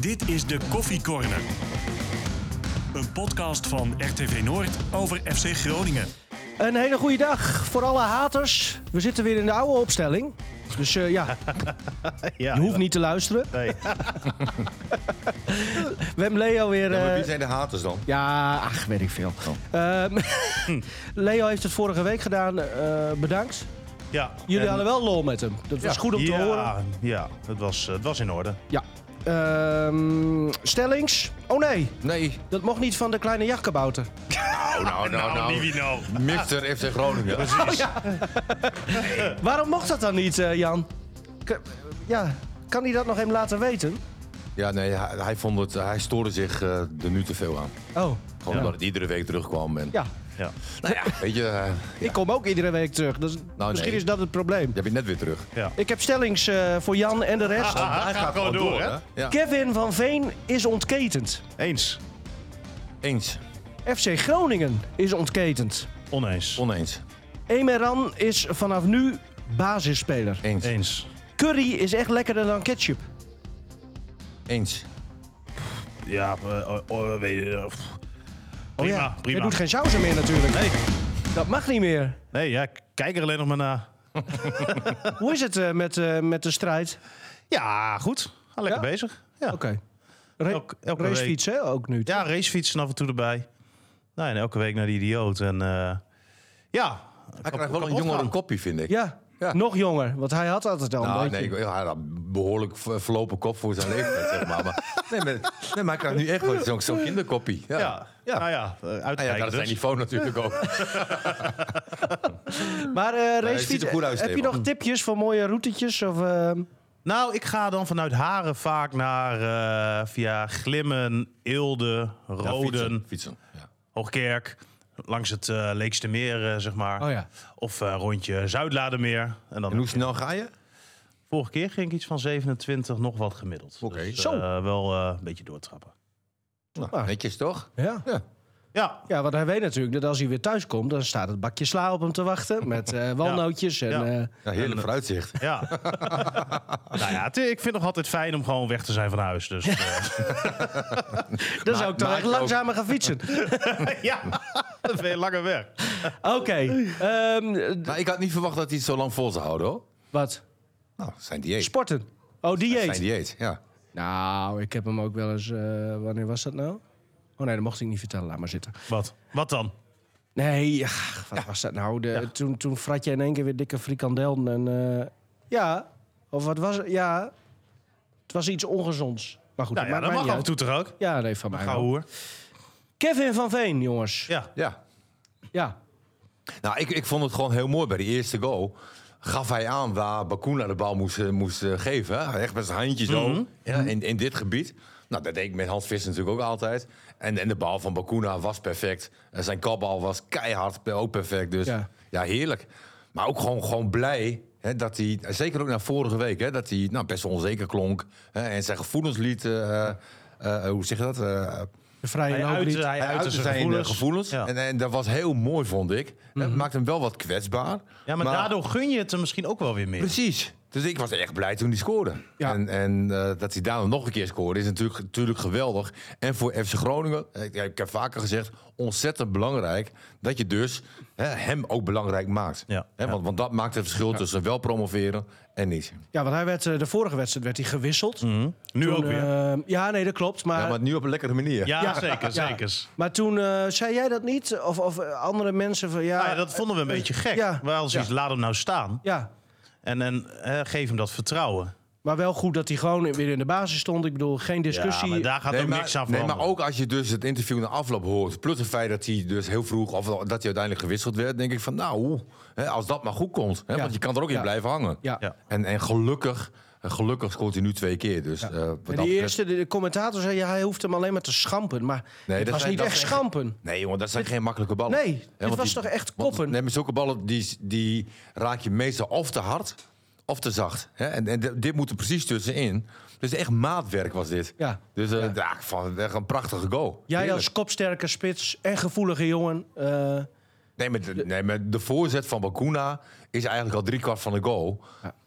Dit is de Koffie Corner. Een podcast van RTV Noord over FC Groningen. Een hele goede dag voor alle haters. We zitten weer in de oude opstelling. Dus eh, ja, Ja, je hoeft niet te luisteren. Nee. We hebben Leo weer... Ja, maar eh, wie Oh. zijn de haters dan? ja, ach, weet ik veel. Ehm, Leo heeft het vorige week gedaan. eh, bedankt. Ja. Jullie en- hadden wel lol met hem. Dat was goed om te ja, horen. Ja, het was, eh, het was in orde. Ja. Ehm, stellings? Oh nee, Nee. dat mocht niet van de kleine jachtkabouter. Nou, nou, nou, nou. Divino. Mister FC Groningen. Waarom mocht dat dan niet, eh, Jan? K- ja, kan hij dat nog even laten weten? Ja, nee, hij, hij vond het, hij stoorde zich eh, er nu te veel aan. Oh, Gewoon omdat het iedere week terugkwam. En, ja. Ja. Weet je, eh, Ik kom ook iedere week terug. Dus misschien Nou, nee. is dat het probleem. je hebt je net weer terug. Ja. Ik heb stellings eh, voor Jan en de Ah, rest. hij gaat gewoon door, hè? Ja. Kevin van Veen is ontketend. Eens. Eens. FC Groningen is ontketend. Oneens. Oneens. Emeran is vanaf nu basisspeler. Eens. Eens. Curry is echt lekkerder dan ketchup. Eens. Ja, eh, eh, eh, weet je, eh, pff. prima, Je prima. doet geen sausen meer natuurlijk. Nee. Dat mag niet meer. Nee, ja, ik kijk er alleen nog maar naar. Hoe is het eh, met, eh, met de strijd? Ja, goed. Ga lekker Ja? bezig. Ja. Oké. Ra- Elke- elke racefiets, hè, ook nu. ja, racefietsen af en toe erbij. Nou, en elke week naar de idioot. En eh, ja. Hij krijgt wel een jongere kopje, vind ik. Ja. Ja. nog jonger. Want hij had altijd al Nou, een nee, beetje... ik- ja, hij had een behoorlijk ver- verlopen kop voor zijn leeftijd, zeg maar. maar nee, maar, nee, maar hij krijgt nu echt wel zo'n zo'n kinderkoppie. Ja. Ja. Ja. Nou ja, eh, Nou ja, uitkijken dat is dus. zijn niveau natuurlijk ook. Maar eh racefiets, ziet er goed uit, heb je Stefan. nog tipjes voor mooie routetjes? Of, ehm, Nou, ik ga dan vanuit Haren vaak naar eh, via Glimmen, Eelde, Ja, Roden, Fietsen. fietsen. Ja. Hoogkerk. Langs het eh, Leekste Meer, eh, zeg maar. Oh ja. Of eh, rondje Zuidladermeer. En dan En hoe snel ga je? vorige keer ging ik iets van 27, nog wat gemiddeld. Oké. Dus, Zo. eh, wel eh, een beetje doortrappen. Nou, netjes toch? ja. Ja. Ja, Ja, want hij weet natuurlijk dat als hij weer thuis komt, dan staat het bakje sla op hem te wachten. Met eh, walnootjes en... Ja. eh, Ja, heerlijk vooruitzicht. ja. nou ja, het- ik vind het nog altijd fijn om gewoon weg te zijn van huis. Dus eh, dan zou ik toch maar echt ik ook. langzamer gaan fietsen. ja, dan ben je langer weg. Oké. ehm, d- Nou, ik had niet verwacht dat hij het zo lang vol zou houden, hoor. wat? Nou, zijn dieet. Sporten. Oh, Zijn dieet. dieet, ja. Nou, ik heb hem ook wel eens... eh, wanneer was dat nou? Oh nee, dat mocht ik niet vertellen. Laat maar zitten. Wat? Wat dan? Nou Nee, ach, wat was dat nou? De, toen, toen frat je in één keer weer dikke frikandel. En, eh, ja, of wat was het? Ja, het was iets ongezonds. Maar goed, Nou ja, dat dat maakt mij mag niet af en uit. toe toch ook? Ja, nee, van mij Gauw wel. hoer. Kevin van Veen, jongens. Ja. Ja. Ja. ja. Nou, ik, ik vond het gewoon heel mooi bij die eerste goal. Gaf hij aan waar Bakuna de bal moest, eh, moest eh, geven. hè. Echt met zijn handje zo. ja, in, in dit gebied. Nou, dat deed ik met Hans Visser natuurlijk ook altijd. En, en de bal van Bakuna was perfect. En zijn kopbal was keihard eh, ook perfect. Dus Ja. ja, heerlijk. Maar ook gewoon, gewoon blij. Hè, dat hij, zeker ook na vorige week, hè, dat hij nou, best wel onzeker klonk. Hè, en zijn gevoelens liet. eh, eh, eh, hoe zeg je dat? Eh, De vrije Hij loop uitte, niet. hij hij uitte uitte zijn zijn eh, gevoelens. gevoelens. Ja. Mhm. En, en dat was heel mooi, vond ik. Het maakte hem wel wat kwetsbaar. Ja, maar, daardoor gun je het hem misschien ook wel weer meer. Precies. Dus ik was echt blij toen hij scoorde. Ja. En, en eh, dat hij daarna nog een keer scoorde is natuurlijk, natuurlijk geweldig. En voor FC Groningen, eh, ik, ik heb vaker gezegd, ontzettend belangrijk. Dat je dus hè, hem ook belangrijk maakt. Ja. Hè, Ja. Want, want dat maakt het verschil tussen wel promoveren en niet. Ja, want hij werd, eh, de vorige wedstrijd werd hij gewisseld. Nu Toen, ook eh, weer. ja, nee, dat klopt. Maar, Mm. Ja, maar nu op een lekkere manier. ja, zeker, ja. zeker. Maar toen eh, zei jij dat niet? Of, of eh, andere mensen van ja. Nou ja, dat vonden we een beetje gek. ja. Wij hadden zoiets, laat hem nou staan. ja. En, en hè, geef hem dat vertrouwen. Maar wel goed dat hij gewoon weer in de basis stond. Ik bedoel, geen Ja, discussie. maar daar gaat ook maar, niks aan nee, veranderen. maar ook als je dus het interview na afloop hoort. Plus het feit dat hij dus heel vroeg, of dat hij uiteindelijk gewisseld werd. Denk ik van nou, oeh, hè, als dat maar goed komt. Hè, Ja. Want je kan er ook in Ja. blijven hangen. Ja. Ja. En, en gelukkig, gelukkig scoort hij nu twee keer. Dus, eh, wat dat En betreft- die eerste, de, de commentator zei, ja, hij hoeft hem alleen maar te schampen. Maar Nee, het dat was zijn- niet dat echt zijn- schampen. Nee, jongen, dat zijn geen makkelijke ballen. Nee, Hè, dit want was die- toch echt want- koppen? Nee, maar zulke ballen die, die raak je meestal of te hard of te zacht. Hè? En, en dit moet er precies tussenin. Dus echt maatwerk was dit. Ja. Dus eh, ja, ik vond het echt een prachtige goal. Jij Heerlijk. als kopsterke spits en gevoelige jongen. eh, Nee, maar de, nee, maar de voorzet van Bakuna is eigenlijk al driekwart van de goal.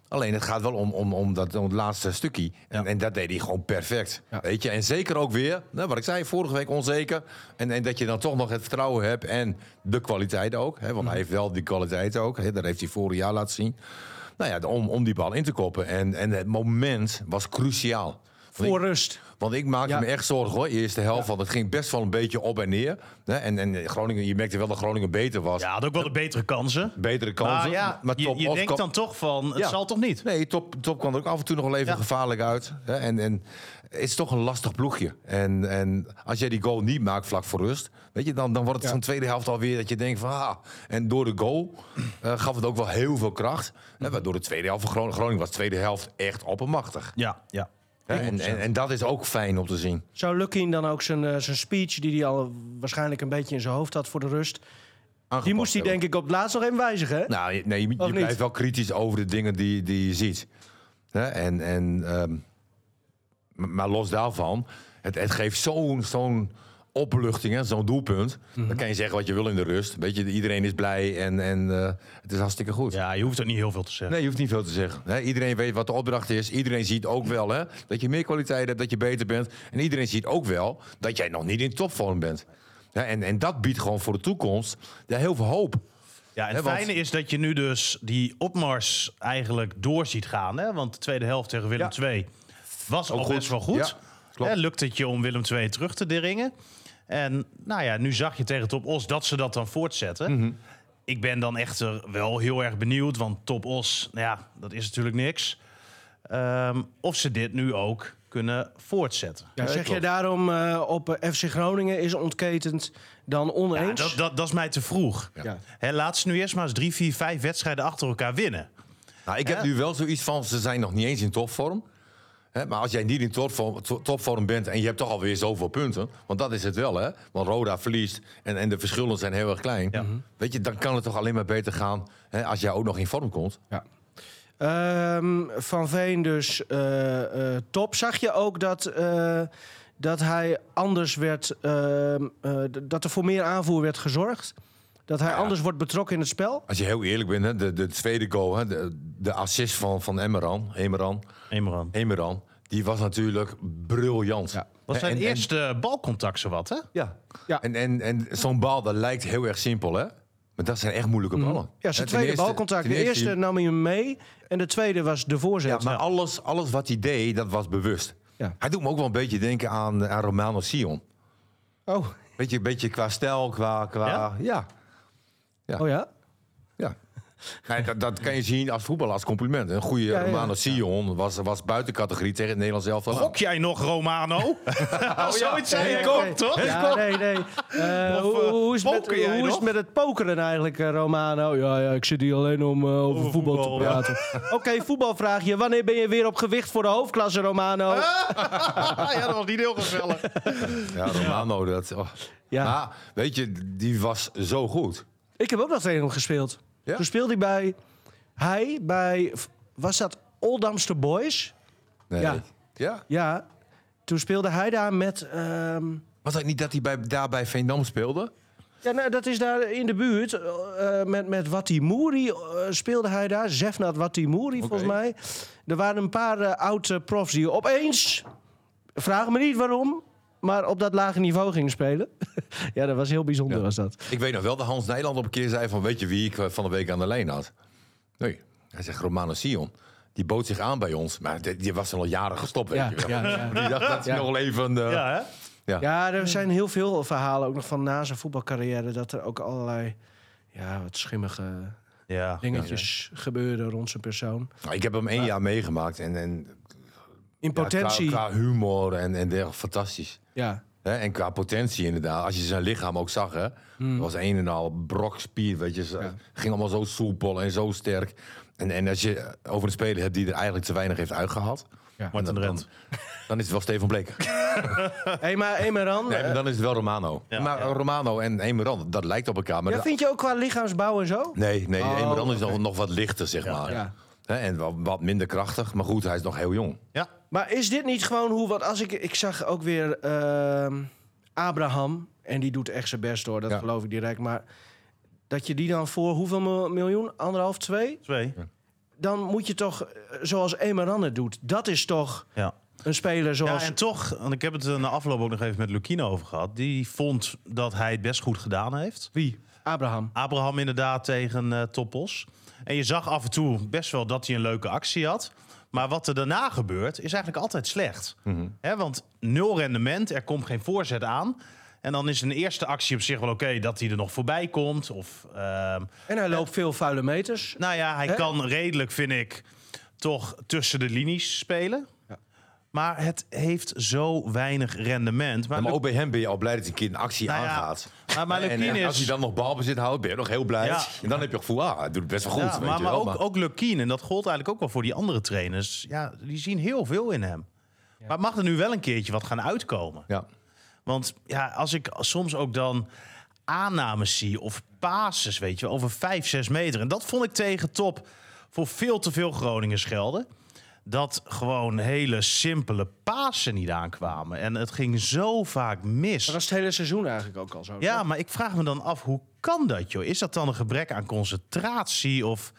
Alleen het gaat wel om, om, om, dat, om het laatste stukje. En, en dat deed hij gewoon perfect. Ja. Weet je? En zeker ook weer, nou, wat ik zei, vorige week onzeker. En, en dat je dan toch nog het vertrouwen hebt en de kwaliteit ook. Hè? Mhm. Want hij heeft wel die kwaliteit ook. Hè? Dat heeft hij vorig jaar laten zien. Nou ja, de- om, om die bal in te koppen. En, en het moment was cruciaal. Want ik- Voor rust. want ik maakte Ja. me echt zorgen hoor, eerste helft. Want het ging best wel een beetje op en neer. Hè? En, en Groningen, je merkte wel dat Groningen beter was. Ja, had ook wel de betere kansen. Betere kansen. Maar ja, je, je of denkt kwam- dan toch van, het Ja. zal toch niet? Nee, top, top kwam er ook af en toe nog wel even Ja. gevaarlijk uit. Hè? En, en het is toch een lastig ploegje. En, en als jij die goal niet maakt vlak voor rust, weet je, dan, dan wordt het Ja. zo'n tweede helft alweer dat je denkt van... Ah, en door de goal eh, gaf het ook wel heel veel kracht. Hè, Mhm. waardoor de tweede helft van Groningen, Groningen was de tweede helft echt oppermachtig. Ja, ja. Hè, En, en, en dat is ook fijn om te zien. Zou Luckin dan ook zijn, eh, zijn speech, die hij al waarschijnlijk een beetje in zijn hoofd had voor de rust... Die Aangepast moest hij hebben. denk ik op het laatst nog even wijzigen, hè? Nou, je- nee, je, je niet? blijft wel kritisch over de dingen die, die je ziet. Hè, en, en, ehm, m- maar los daarvan, het, het geeft zo'n zo'n opluchting, hè, zo'n doelpunt. Dan kan je zeggen wat je wil in de rust. Weet je, iedereen is blij en, en eh, het is hartstikke goed. Ja, je hoeft ook niet heel veel te zeggen. Nee, je hoeft niet veel te zeggen. Hè, iedereen weet wat de opdracht is. Iedereen ziet ook wel hè, dat je meer kwaliteit hebt, dat je beter bent. En iedereen ziet ook wel dat jij nog niet in topvorm bent. Hè, en, en dat biedt gewoon voor de toekomst ja, heel veel hoop. Ja, en Hè, het want- fijne is dat je nu dus die opmars eigenlijk door ziet gaan. Hè? Want de tweede helft tegen Willem Ja. II was al goed. best wel goed. Ja, klopt. Hè, lukte het je om Willem II terug te dringen. En nou ja, nu zag je tegen Top Os dat ze dat dan voortzetten. Mhm. Ik ben dan echter wel heel erg benieuwd, want Top Os, nou ja, dat is natuurlijk niks. Ehm, of ze dit nu ook kunnen voortzetten. Ja, zeg je klopt. daarom eh, op eh, FC Groningen is ontketend dan Ja, oneens? dat, dat, dat is mij te vroeg. Ja. Hè, laat ze nu eerst maar eens drie, vier, vijf wedstrijden achter elkaar winnen. Nou, ik heb Ja. nu wel zoiets van, ze zijn nog niet eens in topvorm. Hè, maar als jij niet in topvorm, to- topvorm bent en je hebt toch alweer zoveel punten... want dat is het wel, hè? Want Roda verliest en, en de verschillen zijn heel erg klein. Ja. Mhm. Weet je, dan kan het toch alleen maar beter gaan hè, als jij ook nog in vorm komt. Ja. Ehm, van Veen dus eh, eh, top. Zag je ook dat, eh, dat hij anders werd... ehm, eh, d- dat er voor meer aanvoer werd gezorgd? Dat hij anders wordt betrokken in het spel? Als je heel eerlijk bent, hè, de, de tweede goal, hè, de, de assist van, van Emeran, Emeran, Emerand. Emeran... die was natuurlijk briljant. Ja. Was zijn En- en- eerste balcontact zowat, hè? Ja. Ja. En, en, en zo'n bal, dat lijkt heel erg simpel, hè? Maar dat zijn echt moeilijke Mhm. ballen. Ja, zijn Hè, ten tweede eerste- balcontact. ten De eerste nam hij hem mee en de tweede was de Ja, voorzet. maar alles, alles wat hij deed, dat was bewust. Ja. Hij doet me ook wel een beetje denken aan, aan Romano Sion. Oh, Beetje, beetje qua stijl, qua... qua Ja? ja? Ja. oh ja? Nee, dat, dat kan je zien als voetbal, als compliment. Een goede ja. Romano Sion was, was buiten categorie tegen het Nederlands elftal. aan. Gok jij nog Romano? Als zoiets zei Nee, je nee, ook, nee. toch? Ja, nee, nee. Eh, Of, hoe eh, hoe is, het met, poker jij hoe is nog? het met het pokeren eigenlijk, eh, Romano? Ja, ja, ik zit hier alleen om eh, over Over voetbal, voetbal, te ja. praten. Oké, voetbalvraagje. Wanneer ben je weer op gewicht voor de hoofdklasse, Romano? Ah, ja, dat was niet heel gezellig. Ja, Romano, dat... oh. Ja. Maar, weet je, die was zo goed. Ik heb ook nog tegen hem gespeeld. Ja? Toen speelde hij bij... Hij bij... Was dat Oldamster Boys? Nee. Ja. Ja? Ja. Toen speelde hij daar met... ehm, Was het niet dat hij bij, daar bij Veendam speelde? Ja, nou, dat is daar in de buurt. eh, eh, met, met Watimuri eh, speelde hij daar. Zefnat Watimuri, volgens mij. Er waren een paar eh, oud-profs die opeens... Vraag me niet waarom, maar op dat lage niveau gingen spelen. ja, dat was heel bijzonder, was dat. Ik weet nog wel dat Hans Nijland op een keer zei van... weet je wie ik eh, van de week aan de lijn had? Nee. Hij zegt Romano Sion. Die bood zich aan bij ons. Maar die, die was er al jaren gestopt, weet Ja, je wel. ja, ja. Die dacht dat Ja. hij nog wel even... eh, Ja, hè? ja, er zijn heel veel verhalen ook nog van na zijn voetbalcarrière... dat er ook allerlei ja, wat schimmige Ja. dingetjes gebeuren rond zijn persoon. nou, ik heb hem één jaar meegemaakt. En, en In ja, potentie, qua, qua humor en, en dergelijke, fantastisch. ja. Hè, en qua potentie inderdaad. Als je zijn lichaam ook zag, hè. Hmm. dat was een en al brokspier, weet je. Ze- Ging allemaal zo soepel en zo sterk. En, en als je over een speler hebt die er eigenlijk te weinig heeft uitgehaald... Martin dan, dan, Drent. dan is het wel Steven Bleker. Hey, maar eh, Emeran, Nee, maar dan is het wel Romano. Ja, maar ja. Romano en Emerand, dat lijkt op elkaar. Maar ja, dat- vind je ook qua lichaamsbouw en zo? Nee, nee Oh, Emerand is nog, nog wat lichter, zeg maar. ja. Hè, en wat, wat minder krachtig. Maar goed, hij is nog heel jong. Ja. Maar is dit niet gewoon hoe... Want als ik, ik zag ook weer ehm, Abraham. En die doet echt zijn best hoor, dat Ja. geloof ik direct. Maar dat je die dan voor hoeveel mil- miljoen? Anderhalf, twee? Twee. dan moet je toch eh, zoals Emerand het doet. Dat is toch Ja. een speler zoals... Ja, en toch, want ik heb het eh, na afloop ook nog even met Lukino over gehad. Die vond dat hij het best goed gedaan heeft. Wie? Abraham. Abraham inderdaad tegen eh Toppos. En je zag af en toe best wel dat hij een leuke actie had. Maar wat er daarna gebeurt, is eigenlijk altijd slecht. Mhm. Hè, want nul rendement, er komt geen voorzet aan. En dan is een eerste actie op zich wel oké dat hij er nog voorbij komt. Of, ehm, En hij loopt veel vuile meters. nou ja, hij Hè? kan redelijk, vind ik, toch tussen de linies spelen. Maar het heeft zo weinig rendement. Maar, Ja, maar Lu- ook bij hem ben je al blij dat hij een keer een actie Nou ja, aangaat. maar- maar en, en Lukien als is- hij dan nog balbezit houdt, ben je nog heel blij. Ja. En dan heb je het gevoel, ah, hij doet het best wel goed. Ja, weet maar, je maar wel, ook, ook Lukien, en dat gold eigenlijk ook wel voor die andere trainers. Ja, die zien heel veel in hem. Maar mag er nu wel een keertje wat gaan uitkomen? Ja. Want ja, als ik soms ook dan aannames zie of pases, weet je, wel, over 5, 6 meter. En dat vond ik tegen top voor veel te veel Groningers gelden. Dat gewoon hele simpele pasen niet aankwamen. En het ging zo vaak mis. Dat was het hele seizoen eigenlijk ook al zo. Ja, maar ik vraag me dan af, hoe kan dat, joh? Is dat dan een gebrek aan concentratie of...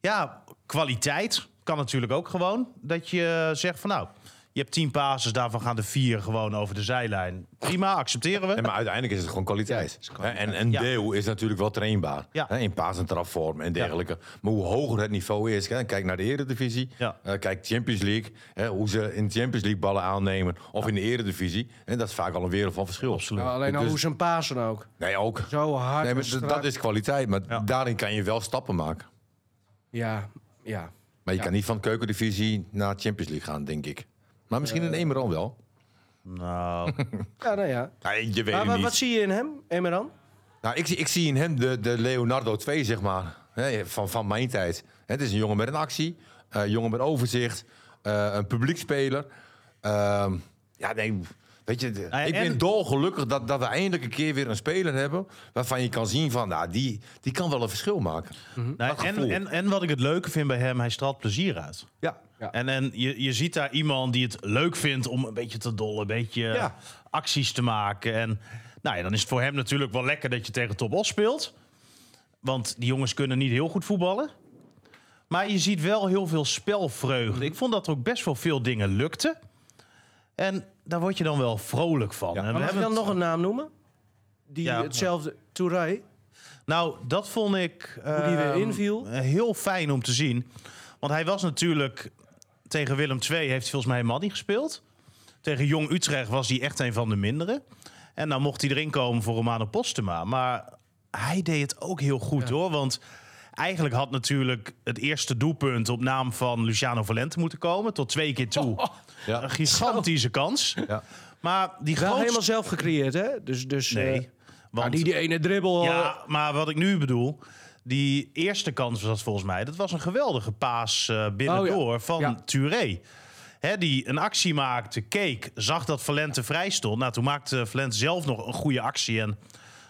Ja, kwaliteit kan natuurlijk ook gewoon. Dat je zegt van, nou, je hebt tien pases, daarvan gaan de vier gewoon over de zijlijn. Prima, accepteren we. Nee, maar uiteindelijk is het gewoon kwaliteit. Hè, En een Ja. deel is natuurlijk wel trainbaar. Ja. Hè, In paas- en trapvorm en dergelijke. Maar hoe hoger het niveau is, hè, kijk naar de Eredivisie. Ja. eh, kijk Champions League. Hè, hoe ze in Champions League ballen aannemen. Of in de Eredivisie. En dat is vaak al een wereld van verschil. Absoluut. Nou, alleen al Dus- hoe zijn Pasen ook. Nee, ook. Zo hard. Nee, en maar d- strak. dat is kwaliteit. Maar Ja. daarin kan je wel stappen maken. Ja, ja. Maar je Ja. kan niet van keukendivisie naar Champions League gaan, denk ik. Maar misschien in Emerald wel. Nou, Ja, nou ja. Nee, je Maar weet het wat, niet. wat zie je in hem, Emerand? Nou, ik, zie- ik zie in hem de, de Leonardo 2, zeg maar. Hè, van, van mijn tijd. Het is een jongen met een actie. eh, Een jongen met overzicht. eh, een publiekspeler. Ehm, ja, nee... Weet je, de- Nou ja, ik en- ben dolgelukkig dat, dat we eindelijk een keer weer een speler hebben... waarvan je kan zien van, nou, die, die kan wel een verschil maken. nou, Dat en, gevoel. en, en wat ik het leuke vind bij hem, hij straalt plezier uit. Ja. Ja. En, en je, je ziet daar iemand die het leuk vindt om een beetje te dollen, een beetje Ja. acties te maken. En nou ja, dan is het voor hem natuurlijk wel lekker dat je tegen Top Os speelt. Want die jongens kunnen niet heel goed voetballen. Maar je ziet wel heel veel spelvreugde. Ik vond dat er ook best wel veel dingen lukten. En daar word je dan wel vrolijk van. En we Mag ik hebben dan het- nog een naam noemen? Die Ja. hetzelfde, Touray. Nou, dat vond ik Hoe die weer ehm, inviel. heel fijn om te zien. Want hij was natuurlijk tegen Willem II heeft hij volgens mij helemaal niet gespeeld. Tegen Jong Utrecht was hij echt een van de mindere. En dan mocht hij erin komen voor Romano Postuma. Maar hij deed het ook heel goed hoor. Want eigenlijk had natuurlijk het eerste doelpunt op naam van Luciano Valente moeten komen. Tot twee keer toe. Ja. Een gigantische kans. Ja. Maar Wel die grootste- helemaal zelf gecreëerd, hè? Dus, dus eh, Nee, maar want- die, die ene dribbel. eh, ja, maar wat ik nu bedoel, die eerste kans was dat volgens mij. Dat was een geweldige paas eh, binnendoor Oh ja. van Ja. Touré. Hè, die een actie maakte, keek, zag dat Valente vrij stond. Nou, toen maakte Valente zelf nog een goede actie en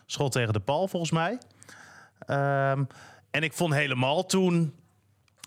schot tegen de paal volgens mij. Ehm, en ik vond helemaal toen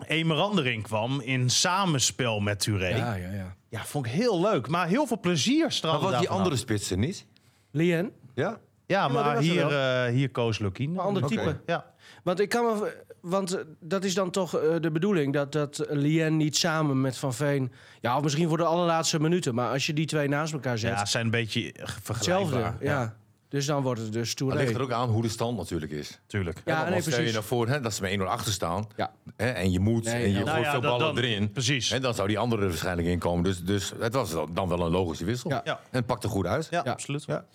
Emerand erin kwam in samenspel met Touré. Ja. ja, ja, ja. vond ik heel leuk. Maar heel veel plezier Maar straalde wat die daarvan andere af. spitsen niet? Lien, Ja? Ja, maar maar, die was er hier, eh, hier koos Lukien. een ander Oké. type. Ja. Want ik kan me, want eh, dat is dan toch eh, de bedoeling dat, dat Lien niet samen met Van Veen. Ja, of misschien voor de allerlaatste minuten. Maar als je die twee naast elkaar zet, Ja, ze zijn een beetje vergelijkbaar. hetzelfde. Ja. Dus dan wordt het dus Dat ligt er Touré. ook aan hoe de stand natuurlijk is. tuurlijk. Ja, Ja, nee, stel je precies. naar voren hè, dat ze met 1-0 achter staan. Ja. Hè, en je moet, Nee, en je ja. gooit Nou ja, veel dat- ballen dan- erin. precies. En dan zou die andere er waarschijnlijk in komen. Dus, dus het was dan- dan wel een logische wissel. Ja. Ja. En het pakte goed uit. Ja, Ja. absoluut. Ja.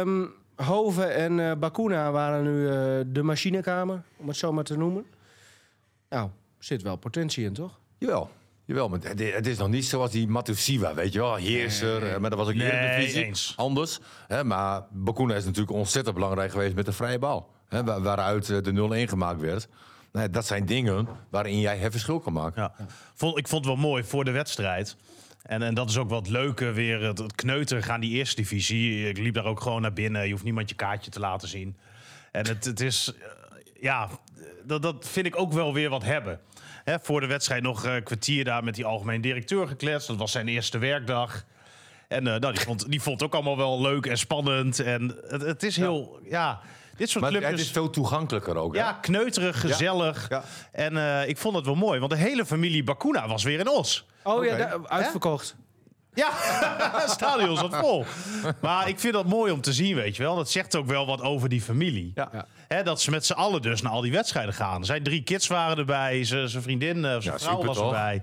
Ehm, Hoven en eh, Bakuna waren nu eh, de machinekamer, om het zo maar te noemen. Nou, zit wel potentie in, toch? Jawel. Jawel, maar het, het is nog niet zoals die Matusiwa, weet je wel. Heerser, eh, maar dat was ook Nee, Eredivisie. eens. Anders. Hè, maar Bakuna is natuurlijk ontzettend belangrijk geweest met de vrije bal. Hè, wa- waaruit eh, de 0-1 gemaakt werd. Nou, dat zijn dingen waarin jij het verschil kan maken. Ja. Vond, ik vond het wel mooi voor de wedstrijd. En, en dat is ook wat leuker weer. Het, het kneuteren gaan die eerste divisie. Ik liep daar ook gewoon naar binnen. Je hoeft niemand je kaartje te laten zien. En het, het is... eh, Ja, dat, dat vind ik ook wel weer wat hebben. Hè, voor de wedstrijd nog een kwartier daar met die algemeen directeur gekletst. Dat was zijn eerste werkdag. En eh, nou, die, vond, die vond het ook allemaal wel leuk en spannend. En het, het is heel... Ja, Dit soort Maar clubjes... het is veel toegankelijker ook. hè? Ja, kneuterig, gezellig. Ja. En eh, ik vond het wel mooi, want de hele familie Bakuna was weer in Os. Oh ja, Oké. daar- uitverkocht. Ja, het stadion zat vol. Maar ik vind dat mooi om te zien, weet je wel. Dat zegt ook wel wat over die familie. Ja. Ja. Hè, dat ze met z'n allen dus naar al die wedstrijden gaan. Er zijn drie kids waren erbij, zijn zijn vriendin, eh, zijn Ja, vrouw super was toch? erbij.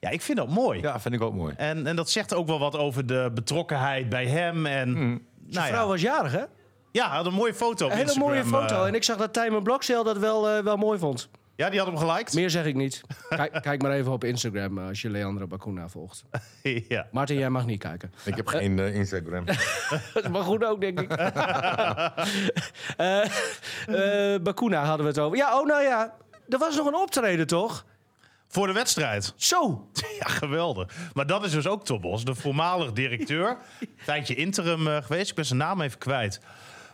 Ja, ik vind dat mooi. Ja, vind ik ook mooi. En, en dat zegt ook wel wat over de betrokkenheid bij hem. En, Hmm. nou Vrouw ja. was jarig, hè? ja, hij had een mooie foto op Een hele Instagram, mooie foto. eh. En ik zag dat Tijmen Blokzeel dat wel, eh, wel mooi vond. ja, die had hem geliked. Meer zeg ik niet. Kijk, kijk maar even op Instagram eh, als je Leandro Bacuna volgt. ja. Martin, jij mag niet kijken. Ik heb geen eh, Instagram. Maar goed ook, denk ik. Eh, eh, Bacuna hadden we het over. Ja, oh nou ja. Er was nog een optreden, toch? Voor de wedstrijd. Zo. Ja, geweldig. Maar dat is dus ook Tobos, de voormalig directeur. Een tijdje interim eh, geweest, ik ben zijn naam even kwijt.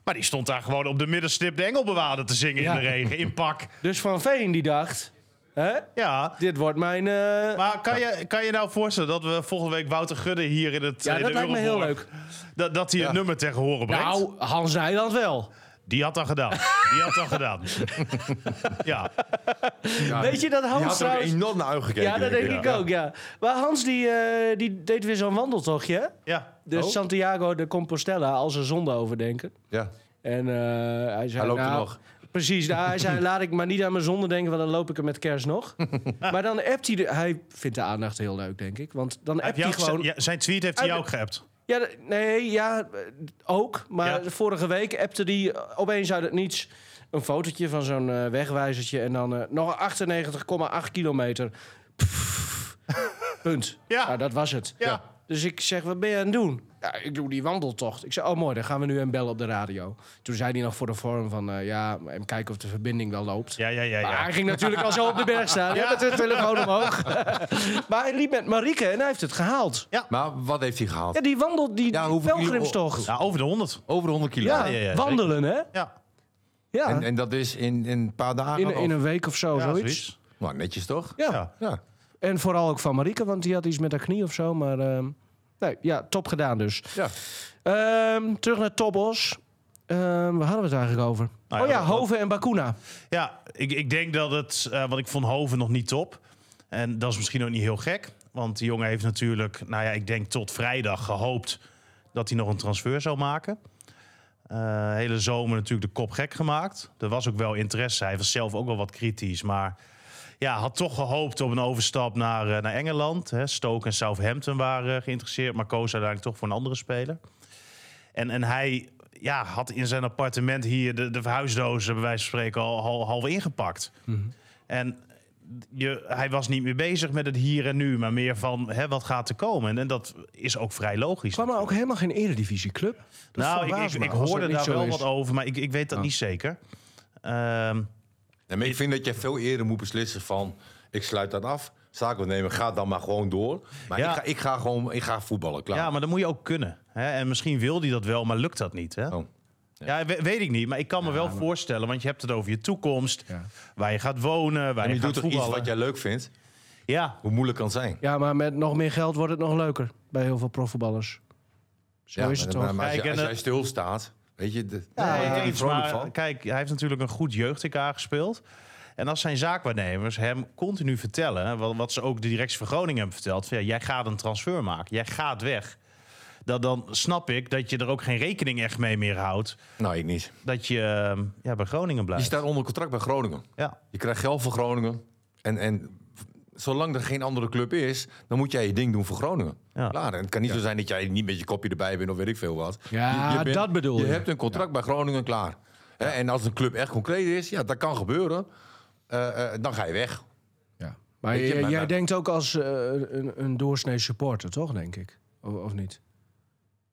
Maar die stond daar gewoon op de middenstip de Engelbewaarder te zingen Ja. in de regen, in pak. Dus Van Veen die dacht... Hè? Ja. Dit wordt mijn... eh, Maar kan je, kan je nou voorstellen dat we volgende week Wouter Gudde hier in het Ja, in dat de lijkt me heel Euroborg- Dat, dat hij het nummer tegen horen brengt. nou, Hans Nijland wel. Die had dat gedaan. Die had dat gedaan. ja. Weet je dat Je Hans Ah, had er Oh, ook trouwens... enorm naar uitgekeken. Ja, dat denk ik ook, ja. Maar Hans die, eh, die deed weer zo'n wandeltochtje. hè? ja. Dus Oh. Santiago de Compostela als een zonde overdenken. Ja. En eh, hij zei... Hij loopt er nou, nog. Precies, nou, hij zei, laat ik maar niet aan mijn zonde denken, want dan loop ik er met kerst nog. maar dan appt hij... de- hij vindt de aandacht heel leuk, denk ik. Want dan Heb appt jij hij ook gewoon... gezegd- ja, zijn tweet heeft hij Uit- jou ook geappt. Ja, d- nee, ja, eh, ook. Maar Ja. vorige week appte die eh, opeens uit het niets een fotootje van zo'n eh, wegwijzertje. En dan eh, nog 98,8 kilometer. Pff, punt. Ja. Nou, dat was het. Ja. Dus ik zeg, wat ben je aan het doen? Ja, ik doe die wandeltocht. Ik zei, oh mooi, dan gaan we nu hem bellen op de radio. Toen zei hij nog voor de vorm van, eh, ja, en kijken of de verbinding wel loopt. Ja, ja, ja. Maar ja. hij ging natuurlijk al zo op de berg staan. Ja. Met de telefoon omhoog. maar hij liep met Marieke en hij heeft het gehaald. Maar wat heeft hij gehaald? Ja, die wandelt, die Ja, hoeveel kilo- pelgrimstocht. Ja, over de 100. Over de 100 kilo. Ja, ja, ja, wandelen, hè? Ja. Ja. En, en dat is in, in een paar dagen? in, in of- een week of zo, Ja, zoiets. zoiets. Nou, netjes toch? Ja. Ja. Ja. en vooral ook van Marieke, want die had iets met haar knie of zo. Maar ehm, nee, ja, top gedaan dus. Ja. Ehm, terug naar Tobos. Ehm waar hadden we het eigenlijk over? Nou ja, oh ja, dat- Hoven en Bakuna. Ja, ik, ik denk dat het, eh, want ik vond Hoven nog niet top. En dat is misschien ook niet heel gek. Want die jongen heeft natuurlijk, nou ja, ik denk tot vrijdag gehoopt dat hij nog een transfer zou maken. Eh, hele zomer natuurlijk de kop gek gemaakt. Er was ook wel interesse. Hij was zelf ook wel wat kritisch, maar ja, had toch gehoopt op een overstap naar, eh, naar Engeland. Hè. Stoke en Southampton waren eh, geïnteresseerd, maar koos uiteindelijk toch voor een andere speler. En, en hij ja, had in zijn appartement hier de, de verhuisdozen, bij wijze van spreken, al, al half ingepakt. En je, hij was niet meer bezig met het hier en nu, maar meer van hè, wat gaat er komen. En, en dat is ook vrij logisch. Kwam er ook helemaal geen eredivisieclub? Dat nou, ik, verbaast ik, me ik als dat hoorde niet daar zo wel is. wat over, maar ik, ik weet dat niet zeker. Ehm, Nee, maar ik vind dat je veel eerder moet beslissen van... ik sluit dat af, zaken nemen, ga dan maar gewoon door. Maar Ja. ik, ga, ik ga gewoon ik ga voetballen, klaar. ja, maar dan moet je ook kunnen. Hè? En misschien wil hij dat wel, maar lukt dat niet. Hè? Oh. Ja, we- weet ik niet, maar ik kan me wel voorstellen, want je hebt het over je toekomst, waar je gaat wonen, waar En je, je gaat doet toch iets voetballen. wat jij leuk vindt? Ja, Hoe moeilijk kan het zijn? Ja, maar met nog meer geld wordt het nog leuker bij heel veel profvoetballers. Zo Ja, is het maar, toch? maar als, Kijk, en je, als het- jij stilstaat, weet je... De, Ja, daar Nee, word je niet eens, vrolijk maar van. kijk, hij heeft natuurlijk een goed jeugd-EK gespeeld. En als zijn zaakwaarnemers hem continu vertellen, wat, wat ze ook de directie van Groningen hebben verteld, van ja, jij gaat een transfer maken, jij gaat weg. Dat, dan snap ik dat je er ook geen rekening echt mee meer houdt. Nou, ik niet. Dat je eh, ja, bij Groningen Je blijft. staat onder contract bij Groningen. Ja. Je krijgt geld voor Groningen. En, en zolang er geen andere club is, dan moet jij je ding doen voor Groningen. Ja. Klaar. En het kan niet zo zijn dat jij niet met je kopje erbij bent of weet ik veel wat. Ja, dat bedoel je. je. hebt een contract bij Groningen klaar. Hè, En als een club echt concreet is, ja, dat kan gebeuren. eh, eh, dan ga je weg. Ja. Maar Weet je, jij- maar jij dat- denkt ook als eh, een, een doorsnee supporter, toch, denk ik? Of, of niet?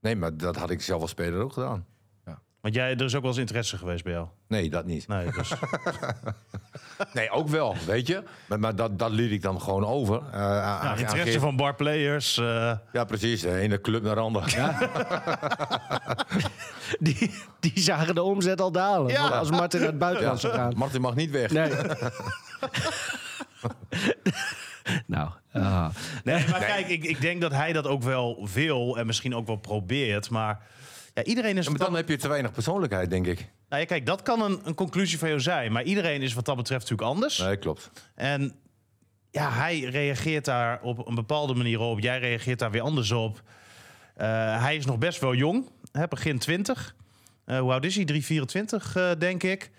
Nee, maar dat had ik zelf als speler ook gedaan. Want jij, er is ook wel eens interesse geweest bij jou. Nee, dat niet. Nee, dus, Nee, ook wel, weet je. Maar, maar dat, dat liet ik dan gewoon over. eh, aan- aan- aan nou, interesse Geert. van barplayers. eh Ja, precies. De ene club naar de andere. Die, die zagen de omzet al dalen. Ja. Als Martin naar het buitenland zou gaan. Martin mag niet weg. Nee. nou. ah. Nee, maar kijk, ik, ik denk dat hij dat ook wel wil en misschien ook wel probeert. Maar Ja, iedereen is Ja, maar wat dan heb je te weinig persoonlijkheid, denk ik. dat- nou ja, kijk, dat kan een, een conclusie van jou zijn. Maar iedereen is wat dat betreft natuurlijk anders. Nee, klopt. En ja, hij reageert daar op een bepaalde manier op. Jij reageert daar weer anders op. Eh, hij is nog best wel jong, hè, begin 20. Eh hoe oud is hij? 324, eh, denk ik.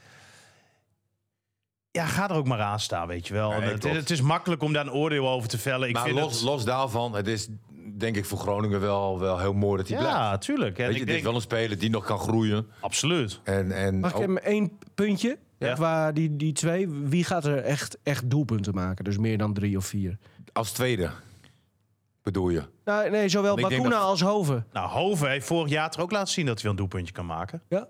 Ja, ga er ook maar aan staan, weet je wel. Nee, En het, is- klopt. het is makkelijk om daar een oordeel over te vellen. Ik maar vind los, het- los daarvan, het is denk ik voor Groningen wel, wel heel mooi dat hij blijft. ja, tuurlijk. En Weet je, ik dit denk, is wel een speler die nog kan groeien. absoluut. En, en Mag ik ook- even één puntje? Ja. Qua die, die twee, wie gaat er echt, echt doelpunten maken? Dus meer dan drie of vier. als tweede, bedoel je. Nou, nee, zowel Want ik denk Bakuna dat- als Hoven. Nou, Hoven heeft vorig jaar toch ook laten zien dat hij wel een doelpuntje kan maken. Ja?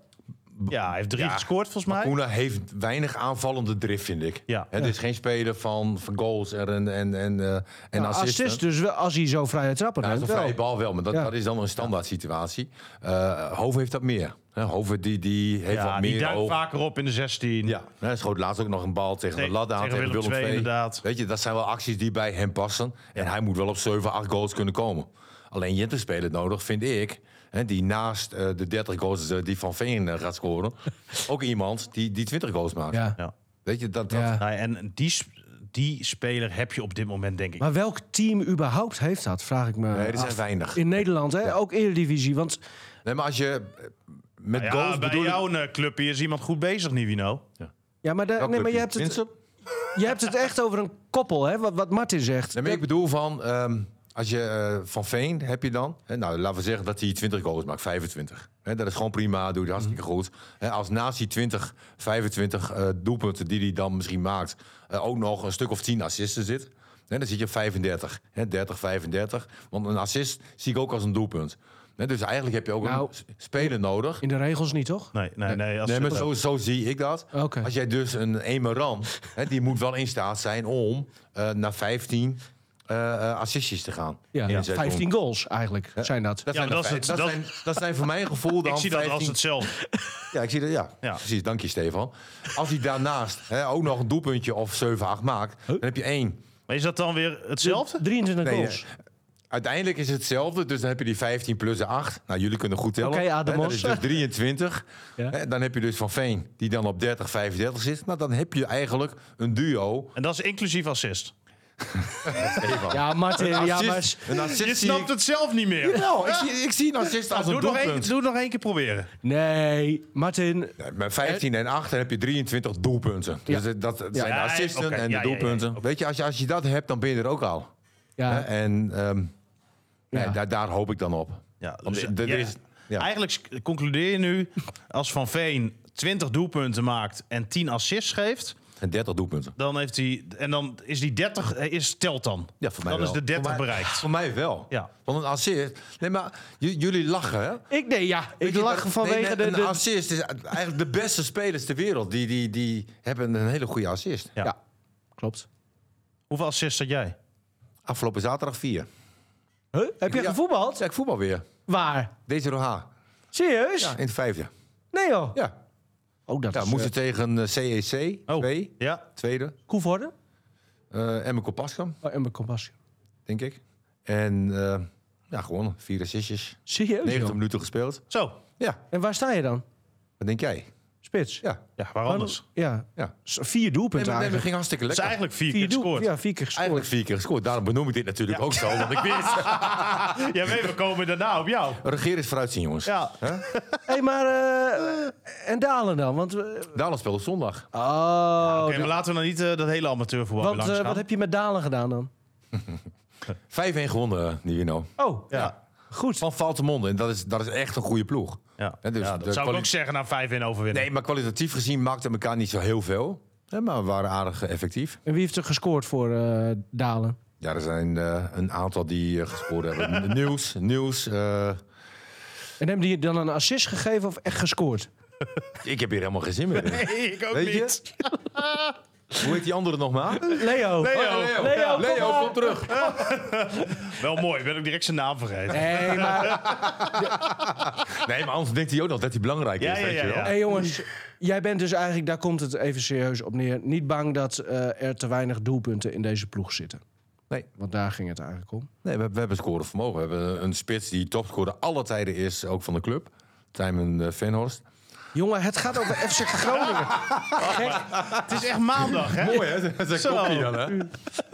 Ja, hij heeft drie Ja, gescoord volgens mij. Koena heeft weinig aanvallende drift, vind ik. Ja. Het is geen speler van, van goals en, en, en, en, eh, en Nou, assist, assisten. dus wel, als hij zo vrije trappen Ja, neemt, een wel. vrije bal wel, maar dat, Ja. dat is dan een standaard situatie. Eh, Hoven heeft dat meer. hè. Hoven die, die heeft Ja, wat die meer duikt oog. vaker op in de 16. Ja, hij schoot laatst ook nog een bal tegen Tegen- de lat aan. tegen Willem II, II. inderdaad. Weet je, dat zijn wel acties die bij hem passen. En hij moet wel op 7, 8 goals kunnen komen. Alleen je hebt een speler nodig, vind ik. Hè, die naast eh, de 30 goals eh, die Van Veen eh, gaat scoren. ook iemand die, die 20 goals maakt. Ja. Ja. Weet je, dat, dat, Ja. Nou, en die, sp- die speler heb je op dit moment, denk ik. Maar welk team überhaupt heeft dat, vraag ik me Nee, er zijn af. weinig. In Nederland, hè? ook Eredivisie. Want Nee, maar als je eh, met Nou Ja, goals bij bedoel ik- jouw eh, club hier is iemand goed bezig, Nivino. Ja, maar, daar- Welk nee, maar je, hebt clubje? het, je hebt het echt over een koppel, hè? Wat, wat Martin zegt. Nee, maar ik bedoel van, ehm, als je eh, van Veen heb je dan, hè, nou laten we zeggen dat hij 20 goals maakt, 25. Hè, dat is gewoon prima, doe je hartstikke Mhm. goed. Hè, als naast die 20, 25 eh, doelpunten die hij dan misschien maakt, eh, ook nog een stuk of 10 assisten zit. Hè, dan zit je op 35, hè, 30, 35. Want een assist zie ik ook als een doelpunt. Hè, dus eigenlijk heb je ook Nou, een s- speler nodig. In de regels niet, toch? Nee, nee, nee. Als Nee, maar zo, zo zie ik dat. Oké. Als jij dus een Emeran, hè, die moet wel in staat zijn om eh, naar 15 eh, eh, assistjes te gaan. Ja, In een seizoen. 15 goals eigenlijk zijn dat. Ja, Dat zijn, maar dat er is vijf- het- dat, dat- zijn, dat zijn voor mijn gevoel dan ik zie dat 15 als hetzelfde. Ja, ik zie dat, ja. Ja. Precies, dank je Stefan. Als hij daarnaast hè, ook nog een doelpuntje of 7, 8 maakt, dan heb je één. Maar is dat dan weer hetzelfde? 23 Nee, goals. eh, Uiteindelijk is het hetzelfde, dus dan heb je die 15 plus de 8. Nou, jullie kunnen goed tellen. Oké, Hè, Ademos. Dat is dus 23. Ja. Hè, Dan heb je dus Van Veen, die dan op 30, 35 zit. Nou, dan heb je eigenlijk een duo. En dat is inclusief assist. Stefan. Ja, Martin, ja, maar... assist, een assist Je zie snapt ik, het zelf niet meer. Nou, Nou, ik, zie, ik zie een assist als doe, een nog doelpunt. één, doe nog één keer proberen. Nee, Martin, Ja, Met 15 en 8 heb je 23 doelpunten. Dus Ja. dat- dat zijn de Ja, assisten oké, en de ja, ja, ja, doelpunten. oké. Weet je als, je, als je dat hebt, dan ben je er ook al. Hè, ja, En ehm, Ja. nee, daar, daar hoop ik dan op. Ja, Want dus, dit- dit ja, is- ja. Eigenlijk s- concludeer je nu, als Van Veen 20 doelpunten maakt en 10 assists geeft, En 30 doelpunten. dan heeft hij, en dan is die 30, eh, is, telt dan. Ja, voor mij dan wel. is de 30 Voor mij- bereikt. Voor mij wel. Ja. Want een assist... Nee, maar j- jullie lachen, hè? Ik, nee, ja, Weet ik je, lach dat- vanwege nee, de... Een de- assist is eigenlijk de beste spelers ter wereld. Die, die, die hebben een hele goede assist. Ja. Ja, klopt. Hoeveel assists had jij? Afgelopen zaterdag 4. Huh? Heb je Ja. gevoetbald? Zeg ik voetbal weer. Waar? DZOH. Serieus? Ja, in het vijfde. Nee joh. Ja. Oh, dat Ja, is... moesten eh, tegen eh, CEC. Oh, Twee. ja. Tweede. Koevoorde? eh Emme Kopaskam, Oh, en mijn compassie. denk ik. En eh ja, gewonnen. Vier assistjes. Serieus 90 joh? minuten gespeeld. Zo. Ja, En waar sta je dan? wat denk jij? Spits? Ja. Ja, waar anders? Ja. ja. S- Vier Nee, doelpunten maar, nee, maar eigenlijk. ging hartstikke Dat is lekker. eigenlijk vier, Vier keer gescoord. doelpunten. Ja, vier keer gescoord. Eigenlijk vier keer gescoord. Daarom benoem ik dit natuurlijk ook zo. Want ik wist. Ja, weet, we komen daarna op jou. Regeer is vooruitzien, jongens. Ja. Hé, hey, maar... eh, en Dalen dan? Want... we- Daarom speelde zondag. Oh, Oké, da- maar laten we nou niet eh, dat hele amateurvoetbal want, langs eh, gaan. wat heb je met Dalen gedaan dan? 5-1 gewonnen, eh, Nivino. Oh, ja. Ja. goed. Van Valtemonde. En dat is, dat is echt een goede ploeg. Ja. Hè, dus Ja, de dat zou ik kwali- ook zeggen na 5 in overwinning. Nee, maar kwalitatief gezien maakten elkaar niet zo heel veel. Hè, maar we waren aardig eh, effectief. En wie heeft er gescoord voor eh, Dalen? Ja, er zijn eh, een aantal die eh, gescoord hebben. nieuws, nieuws. eh, En hebben die dan een assist gegeven of echt gescoord? ik heb hier helemaal geen zin meer in. Nee, ik ook Weet je? Hoe heet die andere nog maar? Oh, Leo. Leo. Leo, Leo, kom maar. kom terug. Wel mooi, ben ik direct zijn naam vergeten. Nee, maar... Nee, maar anders denkt hij ook nog dat hij belangrijk Ja, is. ja, weet ja, je wel. ja. Hé jongens, jij bent dus eigenlijk, daar komt het even serieus op neer... niet bang dat eh, er te weinig doelpunten in deze ploeg zitten. Nee. Want daar ging het eigenlijk om. Nee, we, we hebben scoren vermogen. We hebben een spits die topscorer alle tijden is, ook van de club. Tijmen eh, Venhorst. Jongen, het gaat over FC Groningen. Het is echt maandag, hè? Mooi, hè? Dat is een Zo. kopje dan, hè?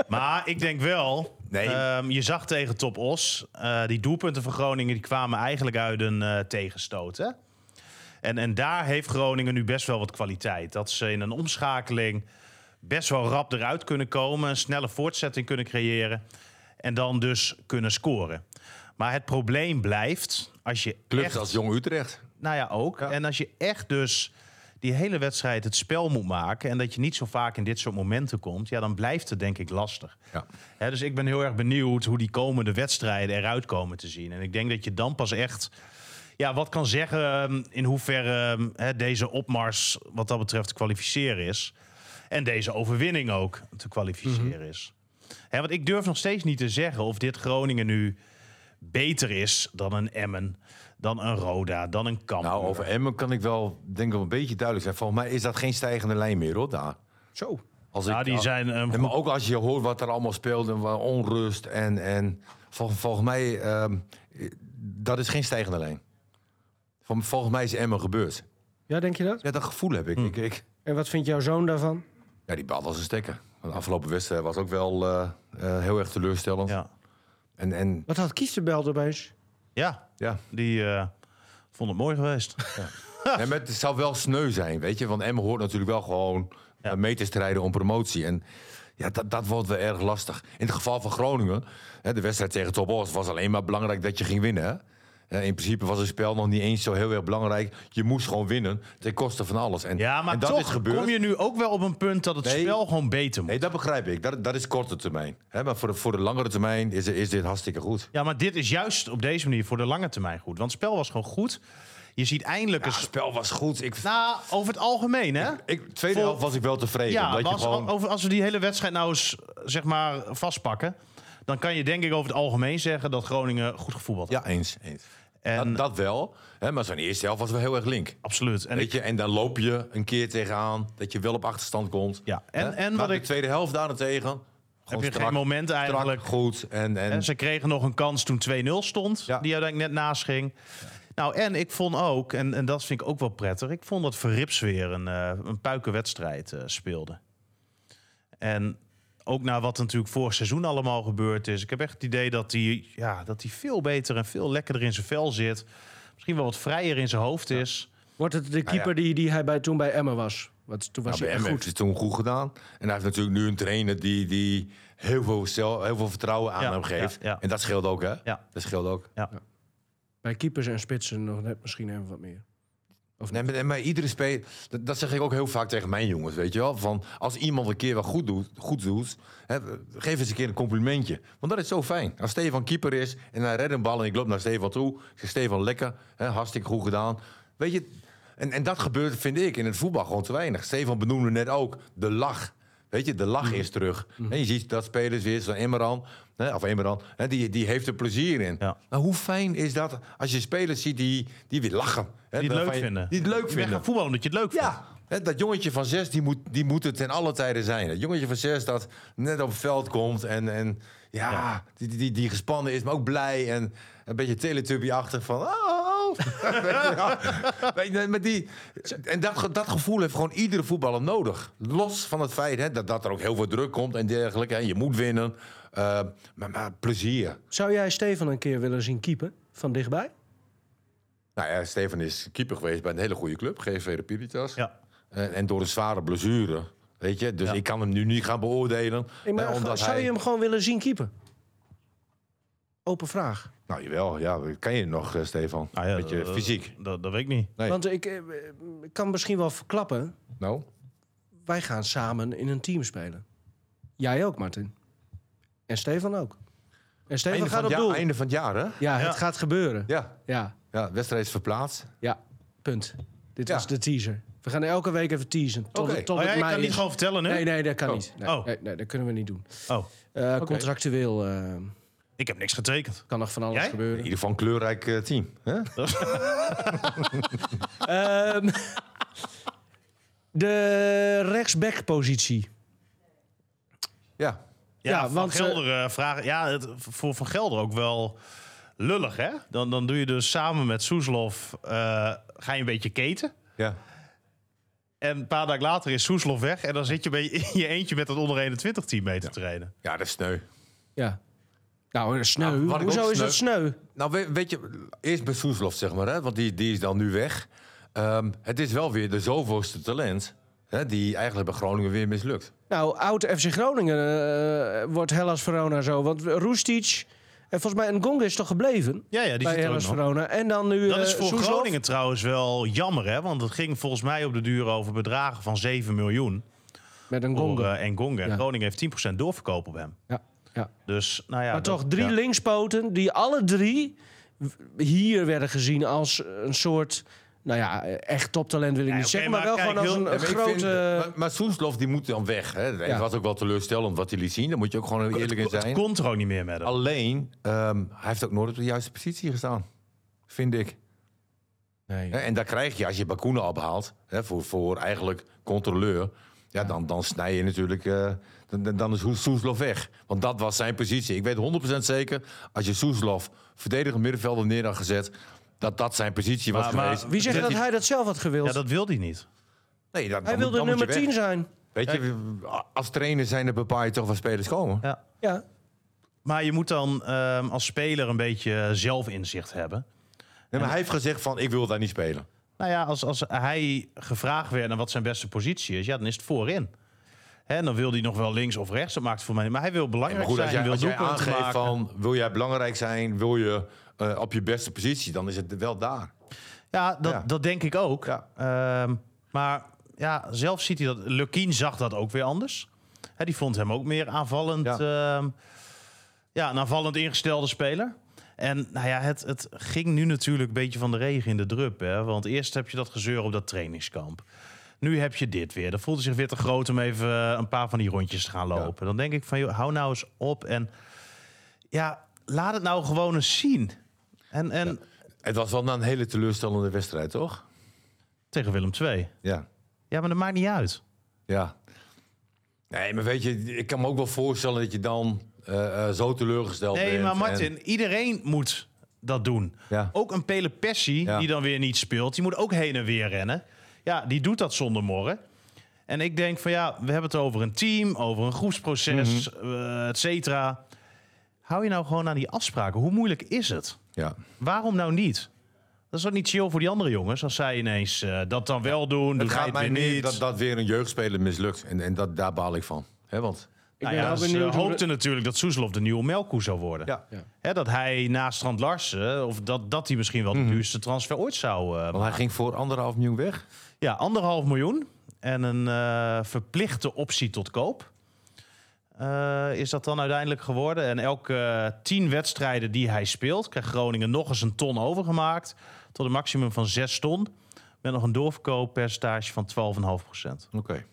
Maar ik denk wel. Nee. ehm, je zag tegen Top Os. eh, die doelpunten van Groningen die kwamen eigenlijk uit een eh, tegenstoot. Hè? En, en daar heeft Groningen nu best wel wat kwaliteit. Dat ze in een omschakeling best wel rap eruit kunnen komen. Een snelle voortzetting kunnen creëren. En dan dus kunnen scoren. Maar het probleem blijft als je Clubs echt... als Jong Utrecht. Nou ja, ook. En als je echt dus die hele wedstrijd het spel moet maken... en dat je niet zo vaak in dit soort momenten komt... ja, dan blijft het denk ik lastig. Ja. Hè, dus ik ben heel erg benieuwd hoe die komende wedstrijden eruit komen te zien. En ik denk dat je dan pas echt ja, wat kan zeggen ehm, in hoeverre ehm, hè, deze opmars wat dat betreft te kwalificeren is. En deze overwinning ook te kwalificeren is. Hè, want ik durf nog steeds niet te zeggen of dit Groningen nu beter is dan een Emmen, dan een Roda, dan een Kamp. Nou, over Emmen kan ik wel, denk ik, wel een beetje duidelijk zijn. Volgens mij is dat geen stijgende lijn meer, hoor, daar. Zo. Als Ja, die zijn, ehm, Nee, maar ook als je hoort wat er allemaal speelt en wat onrust en, en vol- volgens mij, ehm, dat is geen stijgende lijn. Vol- Volgens mij is Emmen gebeurd. Ja, denk je dat? Ja, dat gevoel heb ik. ik, ik En wat vindt jouw zoon daarvan? ja, die bal was een stekker. De afgelopen wedstrijd was ook wel eh, eh, heel erg teleurstellend. ja. En, en Wat had Kiesterbelt opeens? ja, ja, die eh, vond het mooi geweest. Nee, maar het zou wel sneu zijn, weet je. Want Emmen hoort natuurlijk wel gewoon Ja. eh, mee te strijden om promotie. En ja, dat, dat wordt wel erg lastig. In het geval van Groningen, hè, de wedstrijd tegen Top Os was alleen maar belangrijk dat je ging winnen. Hè? Eh, in principe was het spel nog niet eens zo heel erg belangrijk. Je moest gewoon winnen ten koste van alles. En, Ja, maar en dat is toch gebeurd. kom je nu ook wel op een punt dat het Nee. spel gewoon beter moet. Nee, dat begrijp ik. Dat, dat is korte termijn. Hè, maar voor de, voor de langere termijn is, is dit hartstikke goed. Ja, maar dit is juist op deze manier voor de lange termijn goed. Want het spel was gewoon goed. Je ziet eindelijk het eens... spel was goed. Ik, Nou, over het algemeen, hè? ik, tweede Vol- helft was ik wel tevreden. Nou, Ja, omdat maar je als, gewoon... over, als we die hele wedstrijd nou eens, zeg maar, vastpakken... dan kan je denk ik over het algemeen zeggen dat Groningen goed gevoetbald heeft. Ja, eens. eens. En- dat, dat wel, hè, maar zijn eerste helft was wel heel erg link. Absoluut. En Weet ik, je, en dan loop je een keer tegenaan dat je wel op achterstand komt. Ja, en- hè. en Maar wat de ik- tweede helft daarentegen... heb gewoon je strak, geen moment strak, eigenlijk... goed. En, en, En ze kregen nog een kans toen 2-0 stond, Ja. die uiteindelijk net naast ging. Nou, en ik vond ook, en, en dat vind ik ook wel prettig, ik vond dat Verrips weer een, eh een puikenwedstrijd eh, speelde. En ook na wat er natuurlijk vorig seizoen allemaal gebeurd is. Ik heb echt het idee dat hij ja, dat hij veel beter en veel lekkerder in zijn vel zit. Misschien wel wat vrijer in zijn hoofd is. Wordt het de keeper die, die hij bij, toen bij Emma was? Want toen was nou, bij hij Emmen echt goed. heeft hij het toen goed gedaan. En hij heeft natuurlijk nu een trainer die, die heel, veel zelf, heel veel vertrouwen aan Ja, hem geeft. ja, ja. En dat scheelt ook, hè? Ja. Dat scheelt ook. Bij keepers en spitsen nog net misschien even wat meer. Nee, maar, maar iedere speler, dat, dat zeg ik ook heel vaak tegen mijn jongens, weet je wel. Van als iemand een keer wat goed doet, goed doet hè, geef eens een keer een complimentje. Want dat is zo fijn. Als Stefan keeper is en hij redt een bal en ik loop naar Stefan toe. Ik zeg, Stefan, lekker, hè, hartstikke goed gedaan. Weet je, en, en dat gebeurt, vind ik, in het voetbal gewoon te weinig. Stefan benoemde net ook de lach. Weet je, de lach is terug. En je ziet dat spelers weer, zo'n Emmeran, hè, of Emmeran, hè, die, die heeft er plezier in. Ja. Maar hoe fijn is dat als je spelers ziet die, die weer lachen. hè, Die het waarvan leuk eh, je- vinden. Die het leuk Je bent vinden. gaan voetballen omdat je het leuk vindt. Ja. Hè, dat jongetje van zes, die moet, die moet het ten alle tijden zijn. Dat jongetje van zes dat net op het veld komt en, en ja, Die, die, die gespannen is, maar ook blij. En een beetje teletubby-achtig van... Oh, oh. Weet je wel? Weet je, maar die, en dat, ge- dat gevoel heeft gewoon iedere voetballer nodig. Los van het feit hè, dat, dat er ook heel veel druk komt en dergelijke. Hè, je moet winnen. Eh, maar, maar plezier. Zou jij Stefan een keer willen zien keeper? Van dichtbij? Nou ja, Stefan is keeper geweest bij een hele goede club, GSV de Piritas. Ja. Eh, En, en door een zware blessure. Weet je, dus Ja. ik kan hem nu niet gaan beoordelen. Nee, maar eh, omdat zou hij... je hem gewoon willen zien keeper? Open vraag. Nou jawel, ja, kan je nog, eh, Stefan? Nou ja, Met je dat- fysiek. Dat, dat weet ik niet. Nee. Want ik eh, kan misschien wel verklappen. Nou, Wij gaan samen in een team spelen. Jij ook, Martin. En Stefan ook. En Stefan einde, gaat van op het doel. jaar, einde van het jaar, hè? Ja, het Ja. gaat gebeuren. Ja, Ja, ja wedstrijd is verplaatst. ja. Punt. Dit Ja. was de teaser. We gaan elke week even teasen. Tot, Oké. tot Oh, ja, het ik mei kan niet is. gewoon vertellen, hè? Nee, nee, dat kan Oh. niet. Nee, Oh. nee, nee, dat kunnen we niet doen. Oh, Eh, Contractueel eh, ik heb niks getekend. kan nog van alles Jij? In gebeuren. ieder geval een kleurrijk eh, team. Hè? Ehm, de rechtsbackpositie. Ja. Ja, Ja, Van want, eh, Gelder eh, vragen. Ja, het, voor Van Gelder ook wel lullig, hè? Dan, dan doe je dus samen met Soeslof eh, ga je een beetje keten. Ja. En een paar dagen later is Soeslof weg. En dan zit je bij- in je eentje met dat onder 21 team mee te trainen. ja, dat is sneu. Ja. Nou, sneu. Nou, wat ik Hoezo ook is dat sneu? Nou, we- weet, je, eerst bij Soeslof, zeg maar, hè, want die, die is dan nu weg. Ehm, het is wel weer de zoveelste talent hè, die eigenlijk bij Groningen weer mislukt. Nou, oud FC Groningen eh, wordt Hellas Verona zo. Want Roestic en volgens mij Ngonga is toch gebleven Ja, ja, die bij zit er ook Hellas nog. Verona. En dan nu Dat eh, is voor Soeslof. Groningen trouwens wel jammer, hè? Want het ging volgens mij op de duur over bedragen van 7 miljoen. met een Voor Ngonga. eh, Engonga. Ja. Groningen heeft 10% doorverkoop op hem. ja, ja. Dus, nou ja, Maar dat- toch drie ja. linkspoten die alle drie w- hier werden gezien als een soort... Nou ja, echt toptalent wil ik Ja, niet oké, zeggen, maar, maar wel kijk, gewoon als heel- een, Ja, een maar ik grote... vind- maar, maar Soeslof, die moet dan weg. Hè. Het Ja. was ook wel teleurstellend wat hij liet zien. Daar moet je ook gewoon eerlijk in Het zijn. kon er ook niet meer met hem. Alleen, ehm, hij heeft ook nooit op de juiste positie gestaan. Vind ik. Nee. Hè, En daar krijg je, als je Bakuna ophaalt, hè, voor, voor eigenlijk controleur... Ja, dan, dan snij je natuurlijk... eh, dan, dan- dan is Soes- Soeslof weg. Want dat was zijn positie. Ik weet 100% zeker, als je Soeslof verdedigend middenvelder neer had gezet... dat dat zijn positie was Maar- maar- geweest. Wie zegt dat dat hij- hij dat zelf had gewild? Ja, dat wilde hij niet. Nee, dat, hij dan moet- wilde dan moet je nummer 10 weg. zijn. Weet je, als trainer zijn er bepaal je toch waar spelers komen. Ja. Ja. Maar je moet dan ehm, als speler een beetje zelfinzicht hebben. Nee, maar hij heeft gezegd van, ik wil daar niet spelen. Nou ja, als, als hij gevraagd werd naar wat zijn beste positie is, ja, dan is het voorin. Hè, en dan wil hij nog wel links of rechts, dat maakt voor mij niet. Maar hij wil belangrijk Maar goed, als zijn, jij, wil als jij doelpunten aangeeft maken. van, wil jij belangrijk zijn, wil je eh, op je beste positie, dan is het wel daar. Ja, dat, Ja. dat denk ik ook. Ja. Ehm, maar ja, zelf ziet hij dat. Lukien zag dat ook weer anders. Hè, die vond hem ook meer aanvallend. Ja. Ja, ja een aanvallend ingestelde speler. En nou ja, het, het ging nu natuurlijk een beetje van de regen in de drup. Hè? Want eerst heb je dat gezeur op dat trainingskamp. Nu heb je dit weer. Dan voelt hij zich weer te groot om even eh, een paar van die rondjes te gaan lopen. Dan denk ik van, joh, hou nou eens op. En ja, laat het nou gewoon eens zien. En, en Het was wel na een hele teleurstellende wedstrijd, toch? tegen Willem II. Ja. Ja, maar dat maakt niet uit. ja. Nee, maar weet je, ik kan me ook wel voorstellen dat je dan eh, eh, zo teleurgesteld Nee, bent. maar en- Martin, iedereen moet dat doen. Ja. Ook een Pele Pessi, Ja. die dan weer niet speelt, die moet ook heen en weer rennen. Ja, die doet dat zonder morren. En ik denk van ja, we hebben het over een team, over een groepsproces, Mhm. eh, et cetera. Hou je nou gewoon aan die afspraken. Hoe moeilijk is het? Ja. Waarom nou niet? Dat is toch niet chill voor die andere jongens als zij ineens eh, dat dan wel doen, Het doet hij gaat het mij weer meer niet. dat, dat weer een jeugdspeler mislukt. En, en dat, daar baal ik van. Hè, want... Ik Nou ben ja, wel ze benieuwd hoe hoopten de- natuurlijk dat Soeslof de nieuwe Melko zou worden. Ja. Ja. Hè, dat hij naast Strand Larsen, of dat, dat hij misschien wel Mhm. de duurste transfer ooit zou... eh, Want hij ging voor anderhalf miljoen weg. ja, anderhalf miljoen en een eh, verplichte optie tot koop. eh, is dat dan uiteindelijk geworden. En elke eh, tien wedstrijden die hij speelt... krijgt Groningen nog eens een ton overgemaakt. Tot een maximum van zes ton. Met nog een doorverkooppercentage van 12,5 procent. Oké.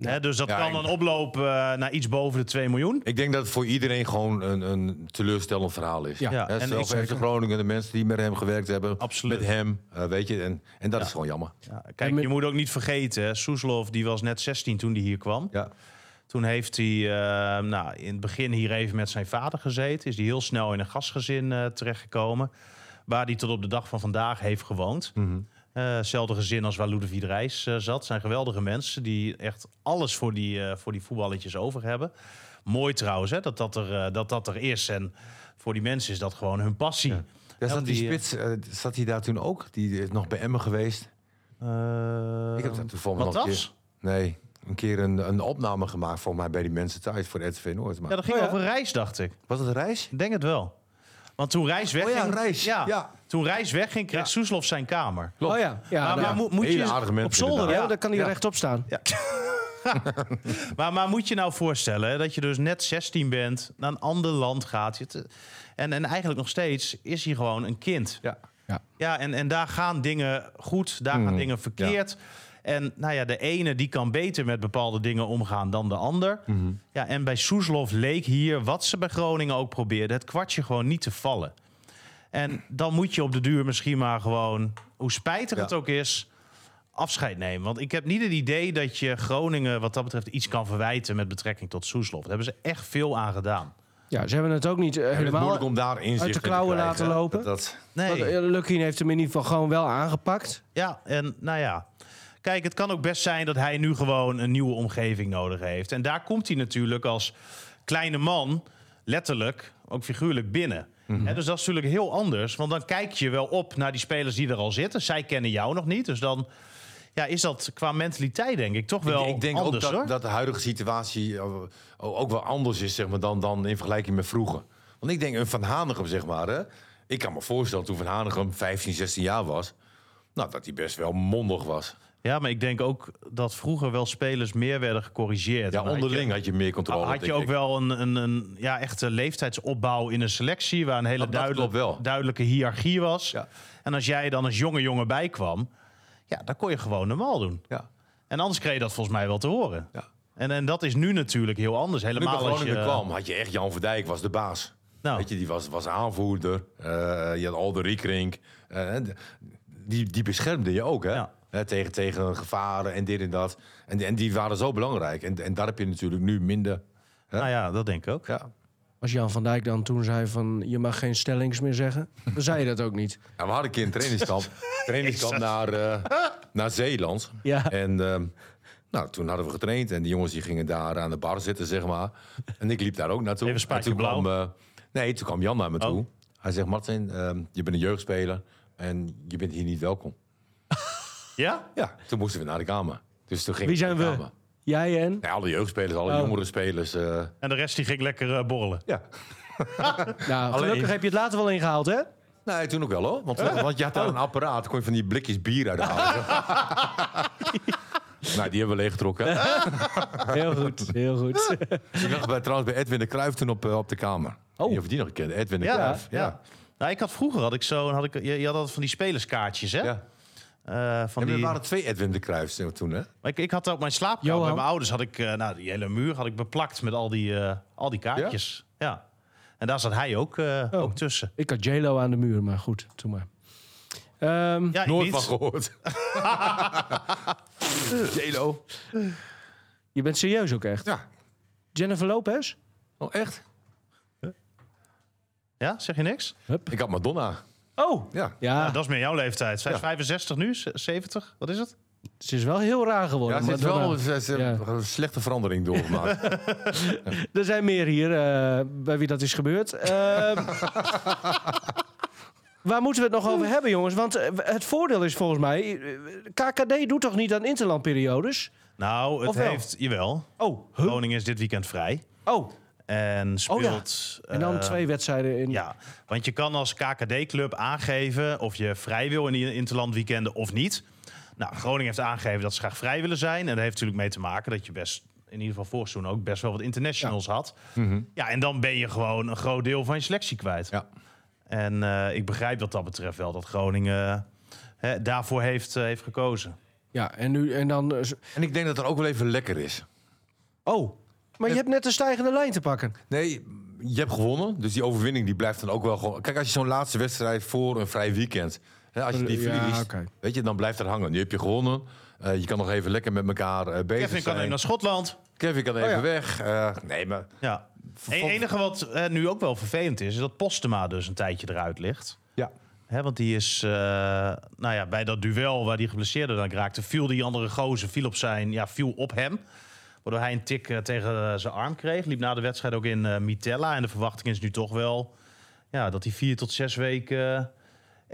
Ja. Dus dat Ja, kan ik- dan oplopen eh, naar iets boven de 2 miljoen. Ik denk dat het voor iedereen gewoon een, een teleurstellend verhaal is. Ja. Ja. Ja, en en ik zelf zeker. heeft de Groningen, de mensen die met hem gewerkt hebben, Absoluut. met hem, eh, weet je, en, en dat is gewoon jammer. Ja, En kijk, met- je moet ook niet vergeten, hè, Soeslof die was net 16 toen hij hier kwam. Ja. Toen heeft hij eh, nou, in het begin hier even met zijn vader gezeten. Is hij heel snel in een gastgezin eh, terechtgekomen. Waar hij tot op de dag van vandaag heeft gewoond. Mhm. Eh, Hetzelfde gezin als waar Ludovic Reis eh, zat. Zijn geweldige mensen die echt alles voor die, eh, voor die voetballetjes over hebben. Mooi trouwens hè, dat, dat, er, eh, dat dat er is. En voor die mensen is dat gewoon hun passie. Daar Ja, zat die, die, eh, spits, eh, zat hij daar toen ook? Die is nog bij Emmen geweest. Eh, ik heb daar toevallig nog een Matas? keer... Nee, een keer een, een opname gemaakt voor mij bij die mensen thuis, voor RTV Noord. Maar, Ja, dat ging Oh ja. over Reis, dacht ik. Was het een reis? Ik denk het wel. Want toen Reis Oh wegging... ja, Reis. Ja. Toen Reis wegging, kreeg Soeslof zijn kamer. Klopt. Oh ja, ja, maar, nou, maar moet, moet Hele je, aardige mensen op zolder, ja, inderdaad. oh, Ja. dan kan hij Ja. rechtop staan. maar, maar moet je nou voorstellen hè, dat je dus net 16 bent, naar een ander land gaat. Je te- en, en eigenlijk nog steeds is hij gewoon een kind. Ja. Mm. Ja, en, en daar gaan dingen goed, daar gaan dingen verkeerd. En nou ja, de ene die kan beter met bepaalde dingen omgaan dan de ander. Mm-hmm. Ja, en bij Soeslof leek hier, wat ze bij Groningen ook probeerden, het kwartje gewoon niet te vallen. En dan moet je op de duur misschien maar gewoon, hoe spijtig Ja. het ook is, afscheid nemen. Want ik heb niet het idee dat je Groningen wat dat betreft iets kan verwijten met betrekking tot Soeslof. Daar hebben ze echt veel aan gedaan. Ja, ze hebben het ook niet eh, Het is helemaal... moeilijk om daar inzicht uit de in te klauwen krijgen, laten hè. lopen. Dat, dat- Nee. Want, eh, Lukien heeft hem in ieder geval gewoon wel aangepakt. Ja, en nou ja. Kijk, het kan ook best zijn dat hij nu gewoon een nieuwe omgeving nodig heeft. En daar komt hij natuurlijk als kleine man, letterlijk, ook figuurlijk binnen. Mhm. Hè, dus dat is natuurlijk heel anders. Want dan kijk je wel op naar die spelers die er al zitten. Zij kennen jou nog niet. Dus dan ja, is dat qua mentaliteit, denk ik, toch wel ik, ik denk anders ook hoor. dat, dat de huidige situatie eh, ook wel anders is zeg maar, dan, dan in vergelijking met vroeger. Want ik denk een Van Hanegem, zeg maar. Hè, ik kan me voorstellen toen Van Hanegem 15, 16 jaar was. Nou, dat hij best wel mondig was. Ja, maar ik denk ook dat vroeger wel spelers meer werden gecorrigeerd. Ja, En dan had je- onderling had je meer controle. Had je denk ook ik. wel een, een, een ja, echte leeftijdsopbouw in een selectie... waar een hele dat duidelijk, klopt wel. duidelijke hiërarchie was. Ja. En als jij dan als jonge jongen bijkwam... ja, dan kon je gewoon normaal doen. Ja. En anders kreeg je dat volgens mij wel te horen. Ja. En, en dat is nu natuurlijk heel anders. Toen ik bij Helemaal als je... Groningen kwam, had je echt Jan Verdijk was de baas. Nou. Weet je, die was, was aanvoerder. Eh, je had Alder Riekrink. Eh, d- die, die beschermde je ook, hè? Ja. Hè, tegen, tegen gevaren en dit en dat. En, en die waren zo belangrijk. En, en daar heb je natuurlijk nu minder... hè? Nou ja, dat denk ik ook. Ja. Als Jan van Dijk dan toen zei van... je mag geen stellings meer zeggen, dan zei je dat ook niet. Ja, we hadden een keer een trainingskamp, trainingskamp naar, eh, naar Zeeland. Ja. En ehm, nou, toen hadden we getraind en die jongens die gingen daar aan de bar zitten, zeg maar. En ik liep daar ook naartoe. Even een spaatje En toen blauw. Kwam, eh, nee, toen kwam Jan naar me toe. Oh. Hij zegt, Martin, ehm, je bent een jeugdspeler en je bent hier niet welkom. Ja? Ja, toen moesten we naar de kamer. Dus toen gingen Wie naar zijn de we? kamer. Jij en? Nee, alle jeugdspelers, alle Oh. jongere spelers. eh, En de rest die ging lekker eh, borrelen. ja. Nou, Alleen. gelukkig heb je het later wel ingehaald, hè? Nee, toen ook wel hoor. Want, eh, want je had daar een apparaat, kon je van die blikjes bier uit halen. nou, die hebben we leeggetrokken. Heel goed, heel goed. Ik lag bij, trouwens bij Edwin de Kruijf toen op, eh, op de kamer. Oh. Je hebt die nog gekend, Edwin de Ja, Kruijf. Ja. ja. Nou, ik had vroeger had ik zo, had ik, je, je had altijd van die spelerskaartjes, hè? Ja. Eh, van En die... er waren twee Edwin de Kruijfs toen, hè? Maar ik, ik had ook mijn slaapkamer Johan? bij mijn ouders had ik eh, nou, die hele muur had ik beplakt met al die, eh, al die kaartjes. Ja? En daar zat hij ook, eh, ook tussen. Ik had JLo aan de muur, maar goed, toen maar. Ehm, Ja, ik Nooit niet. van gehoord. Jelo. Je bent serieus ook echt. Ja. Jennifer Lopez? Oh, echt? Ja, zeg je niks? Ik had Madonna. Oh! Ja. Ja, Nou, dat is meer jouw leeftijd. Zij is Ja. 65 nu, ze- 70. Wat is het? ze is wel heel raar Ja, geworden. ze maar heeft wel dan- ze- ze- Ja. een slechte verandering doorgemaakt. Er zijn meer hier eh, bij wie dat is gebeurd. Ehm, waar moeten we het nog over hebben, jongens? Want eh, het voordeel is volgens mij... eh, KKD doet toch niet aan interlandperiodes? Nou, het Of wel? heeft jawel. Oh, huh? Groningen is dit weekend vrij Oh, en Oh, ja. speelt. en dan eh, twee wedstrijden in... Ja, want je kan als KKD-club aangeven of je vrij wil in die interlandweekenden of niet. Nou, Groningen heeft aangegeven dat ze graag vrij willen zijn. En dat heeft natuurlijk mee te maken dat je best, in ieder geval vorig seizoen ook, best wel wat internationals had. Ja, en dan ben je gewoon een groot deel van je selectie kwijt. Ja. En eh, ik begrijp wat dat betreft wel dat Groningen eh, hè, daarvoor heeft, eh, heeft gekozen. Ja, en, nu, en dan... eh, z- En ik denk dat dat ook wel even lekker is. oh, maar je hebt net een stijgende lijn te pakken. Nee, je hebt gewonnen. Dus die overwinning die blijft dan ook wel gewoon... Kijk, als je zo'n laatste wedstrijd voor een vrij weekend... Hè, als je die Ja, verliest, oké. weet je, dan blijft er hangen. Nu heb je gewonnen. Eh, je kan nog even lekker met elkaar eh, bezig Kevin kan zijn. even Oh naar Schotland. Kevin kan even ja. weg. Eh, nee, maar... Ja. Het E-, enige wat eh, nu ook wel vervelend is, is dat Postema dus een tijdje eruit ligt. Ja. Hè, want die is, eh, nou ja, bij dat duel waar die geblesseerde dan raakte, viel die andere gozer, viel op zijn, ja, viel op hem. Waardoor hij een tik eh, tegen eh, zijn arm kreeg. Liep na de wedstrijd ook in eh, Mitella. En de verwachting is nu toch wel ja, dat hij vier tot zes weken eh,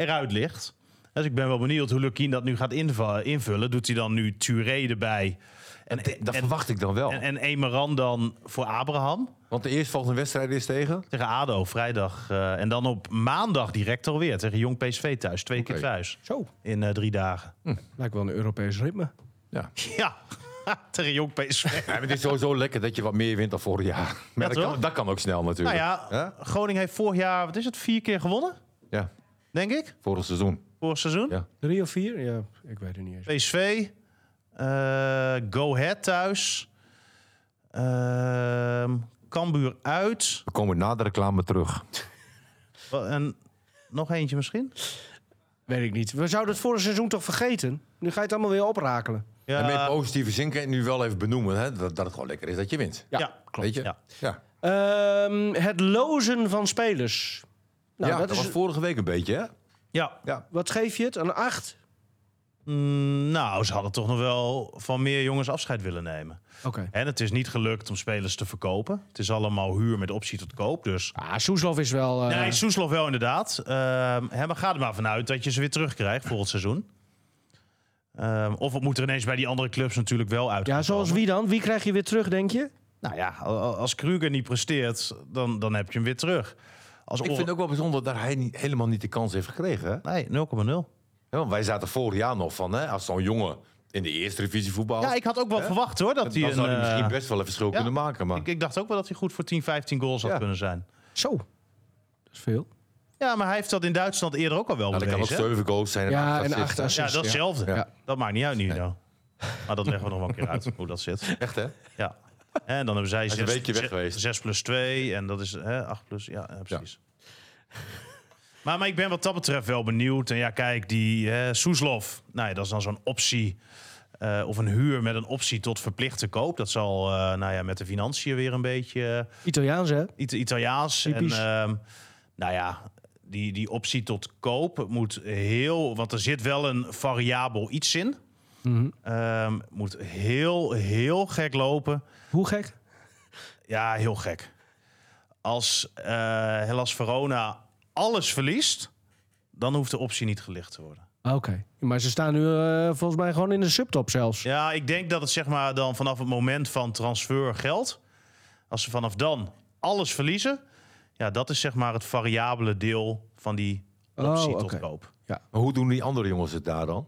eruit ligt. Dus ik ben wel benieuwd hoe Lukien dat nu gaat inva- invullen. Doet hij dan nu Turé erbij? En, Dat en, verwacht ik dan wel. en, en Emeran dan voor Abraham Want de eerstvolgende wedstrijd is tegen... tegen ADO vrijdag. eh, en dan op maandag direct alweer tegen Jong PSV thuis. Twee keer Oké. thuis Zo, in eh, drie dagen. lijkt wel een Europees ritme. Ja. Ja, tegen Jong PSV. Ja, maar het is sowieso lekker dat je wat meer wint dan vorig jaar. Maar dat, toch? kan, dat kan ook snel nou natuurlijk. ja, Hè? Groningen heeft vorig jaar, wat is het, vier keer gewonnen? ja. Denk ik, Vorig seizoen. vorig seizoen. Ja. Drie of vier? Ja, ik weet het niet eens. PSV, eh, Go Ahead thuis, ehm, Cambuur uit. We komen na de reclame terug. Wa- En nog eentje misschien? Weet ik niet. We zouden het vorig seizoen toch vergeten? Nu ga je het allemaal weer oprakelen. Ja, En met positieve zin kan je het nu wel even benoemen. Hè? Dat, dat het gewoon lekker is dat je wint. ja, klopt. Weet je? Ja. Ja. Ehm, het lozen van spelers. Nou, ja, dat, dat is, was vorige week een beetje, hè? Ja, Wat geef je het? Een 8? Mm, nou, ze hadden toch nog wel van meer jongens afscheid willen nemen. Oké. En het is niet gelukt om spelers te verkopen. Het is allemaal huur met optie tot koop. Dus Ah, Soeslof is wel... eh, Nee, Soeslof wel inderdaad. Ehm, hè, maar ga er maar vanuit dat je ze weer terugkrijgt volgend seizoen. Ehm, of het moet er ineens bij die andere clubs natuurlijk wel uit. ja, gaan zoals komen. wie dan? Wie krijg je weer terug, denk je? Nou ja, a- a- als Kruger niet presteert, dan, dan heb je hem weer terug. Als Ik vind het ook wel bijzonder dat hij niet, helemaal niet de kans heeft gekregen. Hè? Nee, 0,0. Ja, want wij zaten vorig jaar nog van, hè, als zo'n jongen in de eerste divisie voetbal... Ja, ik had ook wel Hè? verwacht hoor. Dat dan hij zou hij een, misschien eh, best wel een verschil kunnen maken. Maar ik, ik dacht ook wel dat hij goed voor 10, 15 goals had Ja. kunnen zijn. Zo. Dat is veel. Ja, maar hij heeft dat in Duitsland eerder ook al wel nou, dat kan ook bewezen. hè? zeven goals zijn en Ja, en acht assists, acht hè. assists. ja, eh. Ja. datzelfde. Ja. Dat maakt niet uit nu. nou. Maar dat leggen we nog wel een keer uit hoe dat zit. Echt, hè? Ja. En dan hebben zij is een weekje weg geweest. 6 plus 2 en dat is hè, 8 plus. Ja, ja, precies. Maar, maar ik ben wat dat betreft wel benieuwd. En ja, kijk, die hè, Soeslof, nou ja, dat is dan zo'n optie. eh, of een huur met een optie tot verplichte koop. Dat zal eh, nou ja, met de financiën weer een beetje eh, Italiaans, hè? Ita- Italiaans. Typisch. En ehm, nou ja, die, die optie tot koop moet heel... Want er zit wel een variabel iets in. Ehm, moet heel, heel gek lopen Hoe gek? ja, heel gek. Als eh Hellas Verona alles verliest, dan hoeft de optie niet gelicht te worden. Ah, Oké. Maar ze staan nu eh, volgens mij gewoon in de subtop zelfs. Ja, ik denk dat het zeg maar dan vanaf het moment van transfer geldt. Als ze vanaf dan alles verliezen, ja, dat is zeg maar het variabele deel van die optie Oh, tot oké. koop. Maar hoe doen die andere jongens het daar dan?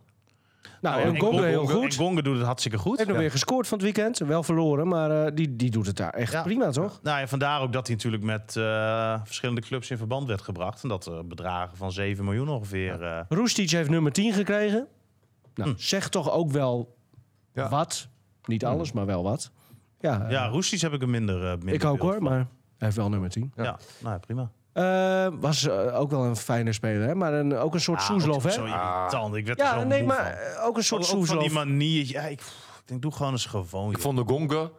Nou, Oh, En en Gongo heel Gongo- goed. en Gongo doet het hartstikke goed. Heeft nog weer gescoord van het weekend. Wel verloren, maar eh, die, die doet het daar echt Ja. prima, toch? Nou ja, vandaar ook dat hij natuurlijk met eh, verschillende clubs in verband werd gebracht. En dat er bedragen van 7 miljoen ongeveer eh, Roestic heeft nummer 10 gekregen. Nou, Hm. zeg toch ook wel Ja. wat. Niet alles, maar wel wat. Ja, eh, Ja, Roesties heb ik een minder. eh, minder ik ook beeld hoor, van. maar hij heeft wel nummer 10. Ja, nou ja, prima. Eh, was eh, ook wel een fijne speler, hè? maar een, ook een soort Ah, Soeslof, ook hè? Zo irritant. Ik werd er Ja, zo nee, moe maar van. eh, ook een soort Ook- ook van die Soeslof. manier. Ja, ik, ik denk, doe gewoon eens gewoon. Ik joh. vond de Gonker,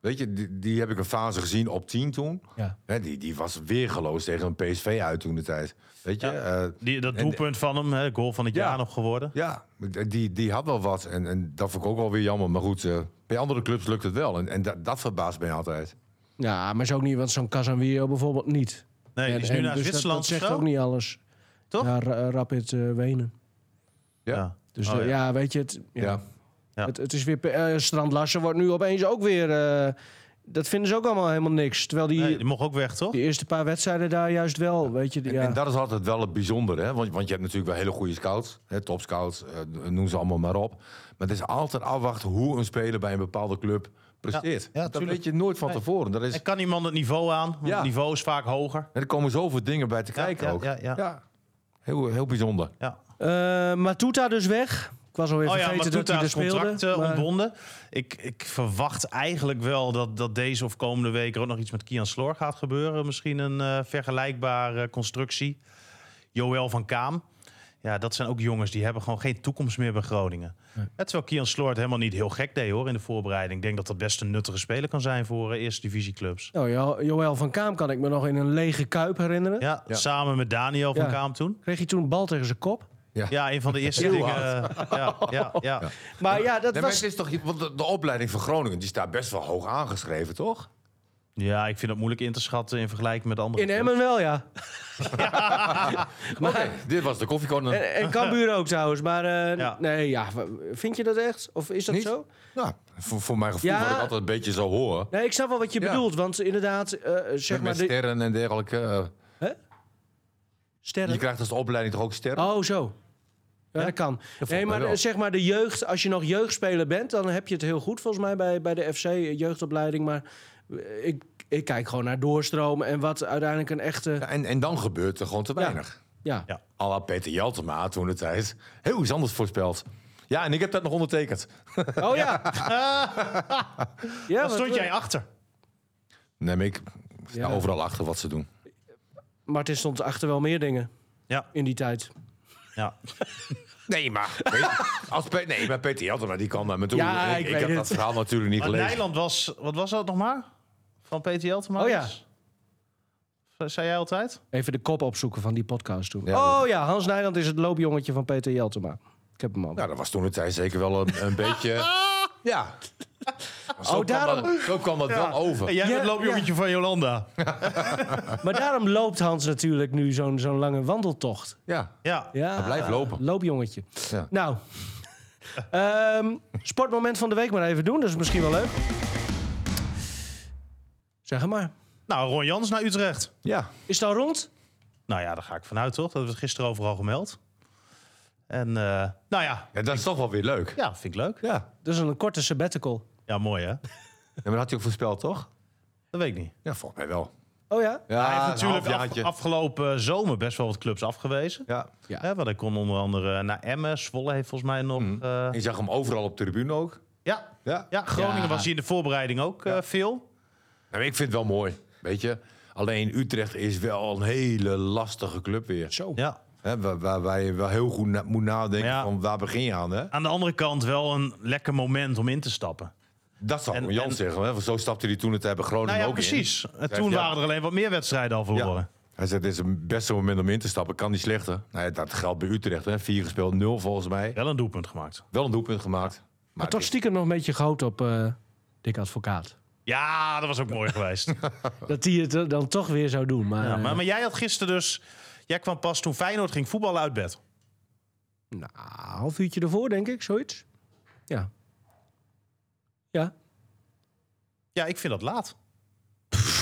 weet je, die, die heb ik een fase gezien op 10 toen. Ja. Hè, die, die was weergeloos tegen een PSV uit toen de tijd. Weet je? eh, Die, dat en- doelpunt van hem, hè, goal van het Ja. jaar nog geworden. ja, die, die had wel wat. En, en dat vond ik ook wel weer jammer. Maar goed, eh, bij andere clubs lukt het wel. En, en dat, dat verbaast mij altijd. Ja, maar is ook niet, want zo'n Casemiro bijvoorbeeld niet. Nee, die is En- nu en naar dus dat- Zwitserland Dat, zegt gegaan. ook niet alles. Toch? Ja, Ra- Rapid eh, Wenen. Ja. Ja. Dus Oh, de- ja. ja. weet je, het, ja. Ja. Ja. Het, het is weer. pe- eh Strand Larsen wordt nu opeens ook weer. eh, dat vinden ze ook allemaal helemaal niks. Terwijl die, Nee, die mocht ook weg, toch? die eerste paar wedstrijden daar juist wel. Weet je, die- En, ja. en dat is altijd wel het bijzondere. Hè? Want, want je hebt natuurlijk wel hele goede scouts. Hè, topscouts, eh, noem ze allemaal maar op. Maar het is altijd afwachten hoe een speler bij een bepaalde club presteert. Ja, dat tuurlijk. weet je nooit van Nee. tevoren. Dat is, En kan iemand het niveau aan? Want Ja. Het niveau is vaak hoger. en er komen zoveel dingen bij te kijken ja, ook. ja, ja. Heel, heel bijzonder. Ja. Eh, Matuta dus weg. Ik was alweer Oh ja, vergeten maar dat hij er Toeta's contract speelde. eh, maar- ontbonden. Ik, ik verwacht eigenlijk wel dat, dat deze of komende week er ook nog iets met Kian Sloor gaat gebeuren. Misschien een eh, vergelijkbare constructie. Joël van Kaam. Ja, dat zijn ook jongens die hebben gewoon geen toekomst meer bij Groningen. Eh, Terwijl Kian Sloor het helemaal niet heel gek deed hoor in de voorbereiding. Ik denk dat dat best een nuttige speler kan zijn voor eh, eerste divisieclubs. Nou, Jo- Joël van Kaam kan ik me nog in een lege kuip herinneren. Ja, Ja. samen met Daniel van Ja. Kaam toen. Kreeg hij toen een bal tegen zijn kop. Ja, een van de eerste Heel dingen. hard. eh, ja, ja, ja. Maar ja, dat Nee, maar was. het is toch, want de, de opleiding van Groningen die staat best wel hoog aangeschreven, toch? ja, ik vind dat moeilijk in te schatten in vergelijking met andere In clubs. Emmen wel, ja. Oké, dit was de koffiekoning. En, en Cambuur ook trouwens. Maar eh, Ja. nee, ja, w- vind je dat echt? Of is dat Niet? zo? Nou, voor, voor mijn gevoel Ja. wat ik altijd een beetje zo hoor. Nee, ik snap wel wat je Ja. bedoelt. Want inderdaad, eh, zeg Met, maar... de- sterren en dergelijke. eh, je sterren. krijgt als opleiding toch ook sterren? Oh, zo. Ja, dat kan. Nee, mij maar wel. de- zeg maar de jeugd, als je nog jeugdspeler bent, dan heb je het heel goed volgens mij bij, bij de FC, eh, jeugdopleiding. Maar eh, ik, ik kijk gewoon naar doorstroom en wat uiteindelijk een echte... Ja, en, en dan gebeurt er gewoon te weinig. Ja, Ja. Alla Peter Jeltema toen de tijd heel iets anders voorspeld. Ja, en ik heb dat nog ondertekend. oh ja. ja Daar wat- stond jij achter. Nee, maar ik sta Ja. overal achter wat ze doen. Martin stond achter wel meer dingen Ja, in die tijd. ja. Nee, maar, weet- als Pe- nee, maar Peter Jeltema die kwam naar me toe. Ja, ik ik weet heb het. dat verhaal natuurlijk niet Maar gelezen. Nijland was, wat was dat nog maar? van PTL Oh te maken? ja. Zei jij altijd? Even de kop opzoeken van die podcast toen. Ja. oh ja, Hans Nijland is het loopjongetje van Peter Jeltema. Ik heb hem al. Nou, dat was toen de tijd zeker wel een, een beetje... Ja. Zo, Oh, daarom- kwam dat, zo kwam dat wel over. En jij Ja, bent loopjongetje van Jolanda. Maar daarom loopt Hans natuurlijk nu zo'n zo'n lange wandeltocht. Ja. Ja. Ja, Hij blijft lopen. Loopjongetje. Ja. Nou, ehm, sportmoment van de week maar even doen. Dat is misschien wel leuk. Zeg het maar. Nou, Ron Jans naar Utrecht. ja. Is het al rond? Nou ja, daar ga ik vanuit, toch? Dat hebben we gisteren overal gemeld. En eh, nou ja, Ja, dat is toch wel weer leuk. ja, vind ik leuk. Ja. Dat is een korte sabbatical. Ja, mooi hè? Ja, maar dat had hij ook voorspeld, toch? Dat weet ik niet. Ja, volgens mij wel. Oh ja? Ja, Hij een heeft natuurlijk af- halfjaartje. afgelopen zomer best wel wat clubs afgewezen. Ja. Ja. Hè, want hij kon onder andere naar Emmen. Zwolle heeft volgens mij nog... eh, En je zag hem overal op de tribune ook. ja, Ja. ja, Groningen Ja. was hier in de voorbereiding ook eh, veel. Nou, ik vind het wel mooi, weet je. Alleen Utrecht is wel een hele lastige club weer. Zo. Ja. Hè, waar, waar, waar je wel heel goed na- moet nadenken Ja. van waar begin je aan, hè? Aan de andere kant wel een lekker moment om in te stappen. Dat zou En- Jan en- zeggen, hè? want zo stapte hij toen het hebben Groningen Nou ja, ook precies. in. En toen Ja. waren er alleen wat meer wedstrijden al verloren. Hij zei, dit is het beste moment om in te stappen, kan niet slechter. Nou, ja, dat geldt bij Utrecht, hè. Vier gespeeld, nul volgens mij. Wel een doelpunt gemaakt. Wel een doelpunt gemaakt. Maar toch stiekem nog een beetje groot op eh Dick Advocaat. Ja, dat was ook mooi geweest. Dat hij het eh, dan toch weer zou doen. Maar, Ja, maar, eh, maar jij had gisteren dus... Jij kwam pas toen Feyenoord ging voetballen uit bed. Nou, een half uurtje ervoor, denk ik, zoiets. Ja. Ja. Ja, ik vind dat laat.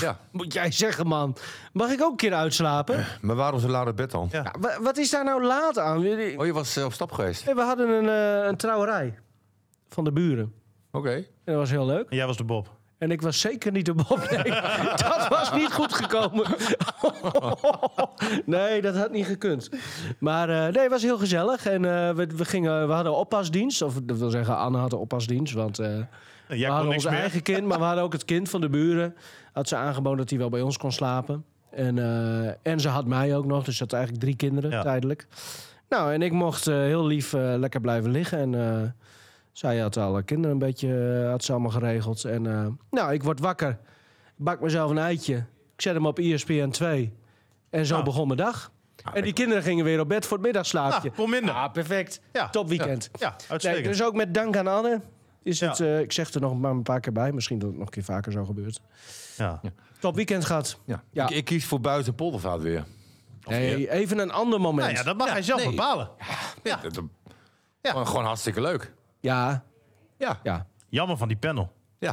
Ja, Moet jij zeggen, man. Mag ik ook een keer uitslapen? maar waarom zo laat op bed dan? Ja. Ja, wa- wat is daar nou laat aan? Jullie- Oh, je was eh, op stap geweest? Hey, We hadden een, eh, een trouwerij van de buren. Oké. En dat was heel leuk. En jij was de Bob. En ik was zeker niet de Bob. Nee, dat was niet goed gekomen. nee, dat had niet gekund. Maar eh, nee, het was heel gezellig. En eh, we, we, gingen, we hadden oppasdienst. Of dat wil zeggen, Anne had een oppasdienst. Want eh, En we Jij kon hadden ons niks meer. Ah, eigen kind, maar we hadden ook het kind van de buren. Had ze aangeboden dat hij wel bij ons kon slapen. En, eh, en ze had mij ook nog. Dus ze had eigenlijk drie kinderen Ja. tijdelijk. Nou, en ik mocht eh, heel lief eh, lekker blijven liggen. En eh, zij had alle kinderen een beetje eh, had ze allemaal geregeld. En eh, nou, ik word wakker. Ik Bak mezelf een eitje. Ik zet hem op E ESPN 2. En zo Nou. begon mijn dag. en die kinderen gingen weer op bed voor het middagslaapje. Nou, voor minder. Ah, perfect. Ja. Top weekend. Ja, Nee, uitstekend. dus ook met dank aan Anne. Is Ja. het, eh, ik zeg er nog maar een paar keer bij. Misschien dat het nog een keer vaker zo gebeurt. ja. Top weekend gehad. Ja. Ja. Ik, ik kies voor buiten Poldervaart weer. Nee, even een ander moment. Nou ja, dat mag hij zelf nee. bepalen. Ja. Dat- dat- Ja. Gewoon, gewoon hartstikke leuk. ja, Ja. ja. ja. Jammer van die panel.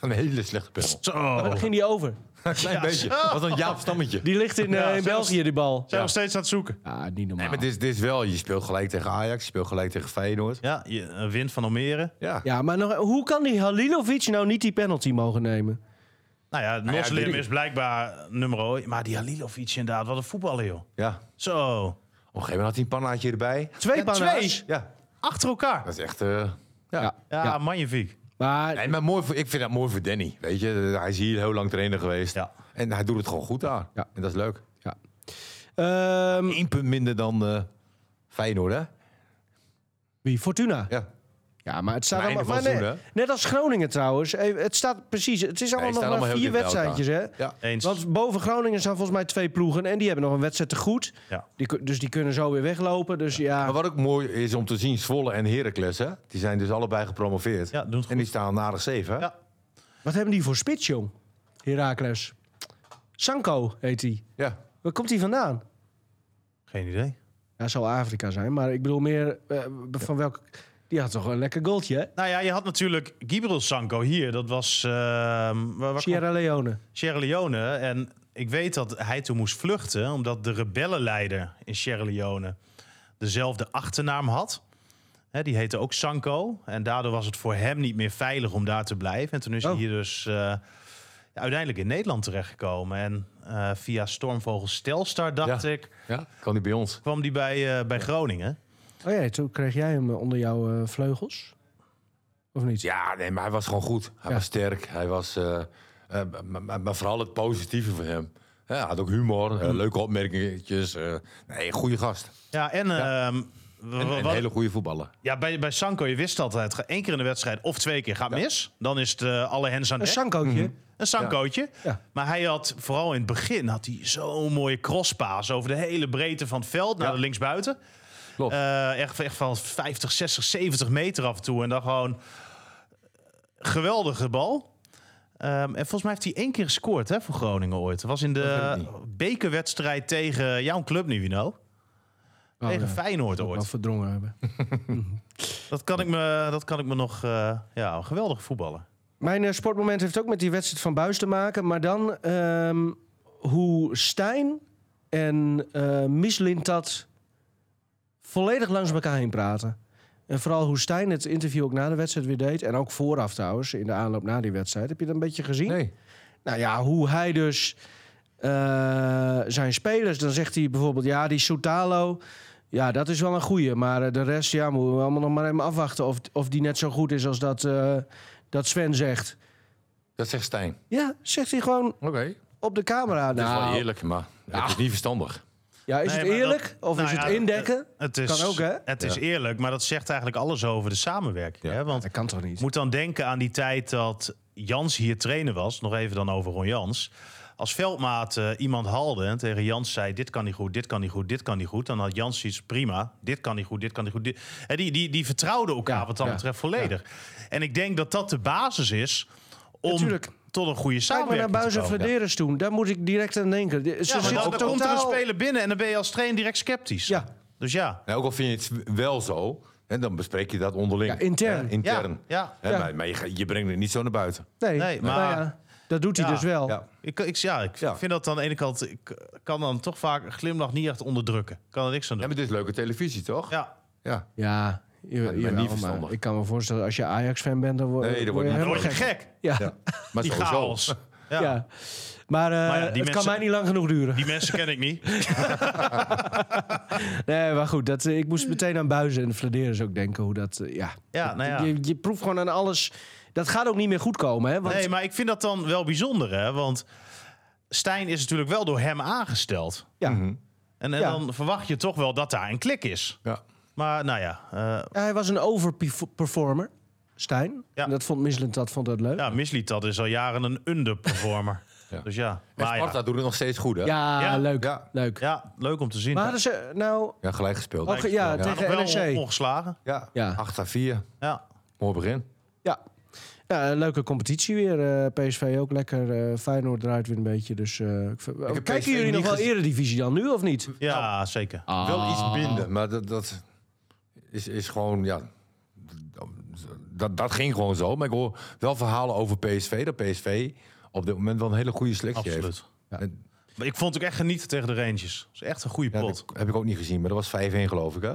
Een hele slechte panel. Zo. Maar dan ging die over. Een klein beetje. Wat een Jaap Stammetje. Die ligt in, eh, Ja, in zelfs- België, die bal. Zijn nog steeds aan het zoeken. Ja, niet normaal. Nee, maar dit is, dit is wel, je speelt gelijk tegen Ajax, je speelt gelijk tegen Feyenoord. Ja, je, eh, wint van Almere. Ja. Ja, maar nog, hoe kan die Halilovic nou niet die penalty mogen nemen? Nou ja, ja, Moslim weet ik. is blijkbaar nummer 1. Maar die Halilovic inderdaad, wat een voetballer joh. ja. Op een Zo. gegeven moment had hij een pannaatje erbij. Twee Ja, panna's. twee. Ja. Achter elkaar. Dat is echt... eh, ja. Ja, Ja. magnifiek. Maar Nee, maar mooi voor, ik vind dat mooi voor Danny. Weet je, Eh, hij is hier heel lang trainer geweest. Ja. En hij doet het gewoon goed daar. Ja. En dat is leuk. ehm, Eén punt minder dan eh, Feyenoord, hè? wie? Fortuna. Ja. Ja, maar het staat Maar allemaal... einde Maar van nee, het net, seizoen, als Groningen trouwens. Even, Het staat precies... Het is allemaal Nee, staan nog maar allemaal vier heel dicht bij wedstrijdjes, hè? Ja. Eens. Want boven Groningen staan volgens mij twee ploegen. En die hebben nog een wedstrijd te goed. Ja. Die, kun- dus die kunnen zo weer weglopen. Dus Maar ja, wat ook mooi is om te zien, Zwolle en Heracles, hè? Die zijn dus allebei gepromoveerd. Ja, doen het En die goed. staan na de zeven, hè? Ja. wat hebben die voor spits, jong? Heracles. Sanko heet die. Ja. Waar komt die vandaan? Geen idee. Ja, zou Afrika zijn. Maar ik bedoel meer eh, van welk... Die had toch een lekker goaltje, hè? Nou ja, je had natuurlijk Gibril Sanko hier. Dat was ehm, waar- waar, kwam- Sierra Leone. Sierra Leone. En ik weet dat hij toen moest vluchten, omdat de rebellenleider in Sierra Leone dezelfde achternaam had. Hè, die heette ook Sanko. En daardoor was het voor hem niet meer veilig om daar te blijven. En toen is Oh. hij hier dus eh, ja, uiteindelijk in Nederland terechtgekomen. En eh, via Stormvogel Stelstar, dacht Ja. ik, ja. Kan die bij ons? kwam die bij, eh, bij Groningen. Oh ja, toen kreeg jij hem eh, onder jouw eh, vleugels? Of niet? Ja, nee, maar hij was gewoon goed. Hij Ja. was sterk. Hij was... eh, eh, maar, maar- maar vooral het positieve van hem. Hmm. Ja, hij had ook humor, eh, leuke opmerkingetjes. eh, nee, goede gast. Ja, en ehm, wa- En wa- een wat- hele goede voetballer. ja, bij, bij Sanko, je wist altijd, ga- één keer in de wedstrijd of twee keer gaat mis. Dan is het eh, alle hens aan Een dek. sankootje. Een sankootje. Ja. Maar hij had, vooral in het begin, had hij zo'n mooie crosspaas over de hele breedte van het veld naar de linksbuiten. Klopt. Eh, echt, echt van 50, 60, 70 meter af en toe. En dan gewoon eh, geweldige bal. Ehm, en volgens mij heeft hij één keer gescoord hè, voor Groningen ooit. Dat was in weet de ik bekerwedstrijd tegen jouw club nu, Wino. Oh, tegen Feyenoord Wat ooit. verdrongen hebben. Dat kan ik me, dat kan ik me nog... eh ja, een geweldige voetballer. Mijn eh, sportmoment heeft ook met die wedstrijd van Buis te maken. Maar dan ehm, hoe Stijn en eh Mislintat volledig langs elkaar heen praten. En vooral hoe Stijn het interview ook na de wedstrijd weer deed. En ook vooraf trouwens, in de aanloop na die wedstrijd. Heb je dat een beetje gezien? Nee. Nou ja, hoe hij dus eh, zijn spelers... Dan zegt hij bijvoorbeeld, ja, die Soutalo... Ja, dat is wel een goeie. Maar eh, de rest, ja, moeten we allemaal nog maar even afwachten... of, of die net zo goed is als dat, eh, dat Sven zegt. Dat zegt Stijn. Ja, zegt hij gewoon Oké. op de camera. Dat is Nou, wel eerlijk, maar het is niet verstandig. Ja, is Nee, het maar dat- eerlijk? of nou is ja, het indekken? Het is, Kan ook, hè? Het is eerlijk, maar dat zegt eigenlijk alles over de samenwerking. Hè? Want Dat kan toch niet? Ik moet dan denken aan die tijd dat Jans hier trainer was. Nog even dan over Ron Jans. Als veldmaat eh, iemand haalde en tegen Jans zei... dit kan niet goed, dit kan niet goed, dit kan niet goed... dan had Jans iets prima. Dit kan niet goed, dit kan niet goed. Dit. En die, die, die vertrouwden elkaar Ja, wat dat ja, betreft volledig. En ik denk dat dat de basis is om Natuurlijk. tot een goede Kijk maar naar samenwerking te Buizen komen. Verderens toen. Daar moet ik direct aan denken. Ze Ja, maar zitten dan, dan komt er een totaal- speler binnen en dan ben je als trainer direct sceptisch. Ja. Dus ja. Nou, ook al vind je het wel zo, hè, dan bespreek je dat onderling. Ja, intern. Hè, intern. Ja, Hè, Ja. Maar, maar je, ga- je brengt het niet zo naar buiten. Nee, Nee, maar... maar- ja, dat doet hij Ja. dus wel. Ja. Ik, ik, ja, ik Ja. vind dat aan de ene kant... Ik kan dan toch vaak een glimlach niet echt onderdrukken. Ik kan er niks aan Ja, doen. maar dit is leuke televisie, toch? Ja. Ja. Ja, je, ben niet verstandig. ik kan me voorstellen, als je Ajax-fan bent, dan word, Nee, dan word je Dan helemaal word je gek. Ja, ja. Ja. Maar Die sowieso. chaos. Ja. Maar, eh, ja, die het kan mensen- mij niet lang genoeg duren. Die mensen ken ik niet. Nee, maar goed, dat, eh, ik moest meteen aan Buizen en Fladeres ook denken. Hoe dat, eh, ja. Ja, nou ja. Je, je proeft gewoon aan alles. Dat gaat ook niet meer goed komen, hè? Want Nee, maar ik vind dat dan wel bijzonder, hè? Want Stijn is natuurlijk wel door hem aangesteld. ja, En, en Ja. dan verwacht je toch wel dat daar een klik is. Ja. Maar nou ja, eh hij was een overperformer, Stijn. Ja. Dat vond Misland dat vond dat leuk. ja, Misliet dat is al jaren een underperformer. Ja. Dus ja, En maar Sparta ja. doet het nog steeds goed, hè? Ja, Ja. leuk. Ja. leuk. ja, leuk om te zien. Maar hadden ze nou... Ja, gelijk gespeeld. Oh, ge- ja, ja. tegen- nog wel NEC. on- ongeslagen. Ja. Ja. 8 à 4. Ja. Mooi begin. Ja. Ja, een leuke competitie weer. eh, PSV ook lekker. eh, Feyenoord draait weer een beetje. Dus, eh, ik vind- heb kijken PSV jullie nog niet wel gezien. eredivisie dan nu of niet? ja, zeker. Wel Ah. iets minder, maar dat, dat is, is gewoon, ja... Dat, dat ging gewoon zo. Maar ik hoor wel verhalen over PSV. Dat PSV op dit moment wel een hele goede selectie heeft. Absoluut. Ja. En- Maar ik vond ook echt genieten tegen de Rangers. Dat is echt een goede Ja, pot. dat heb ik ook niet gezien, maar dat was 5-1 geloof ik, hè?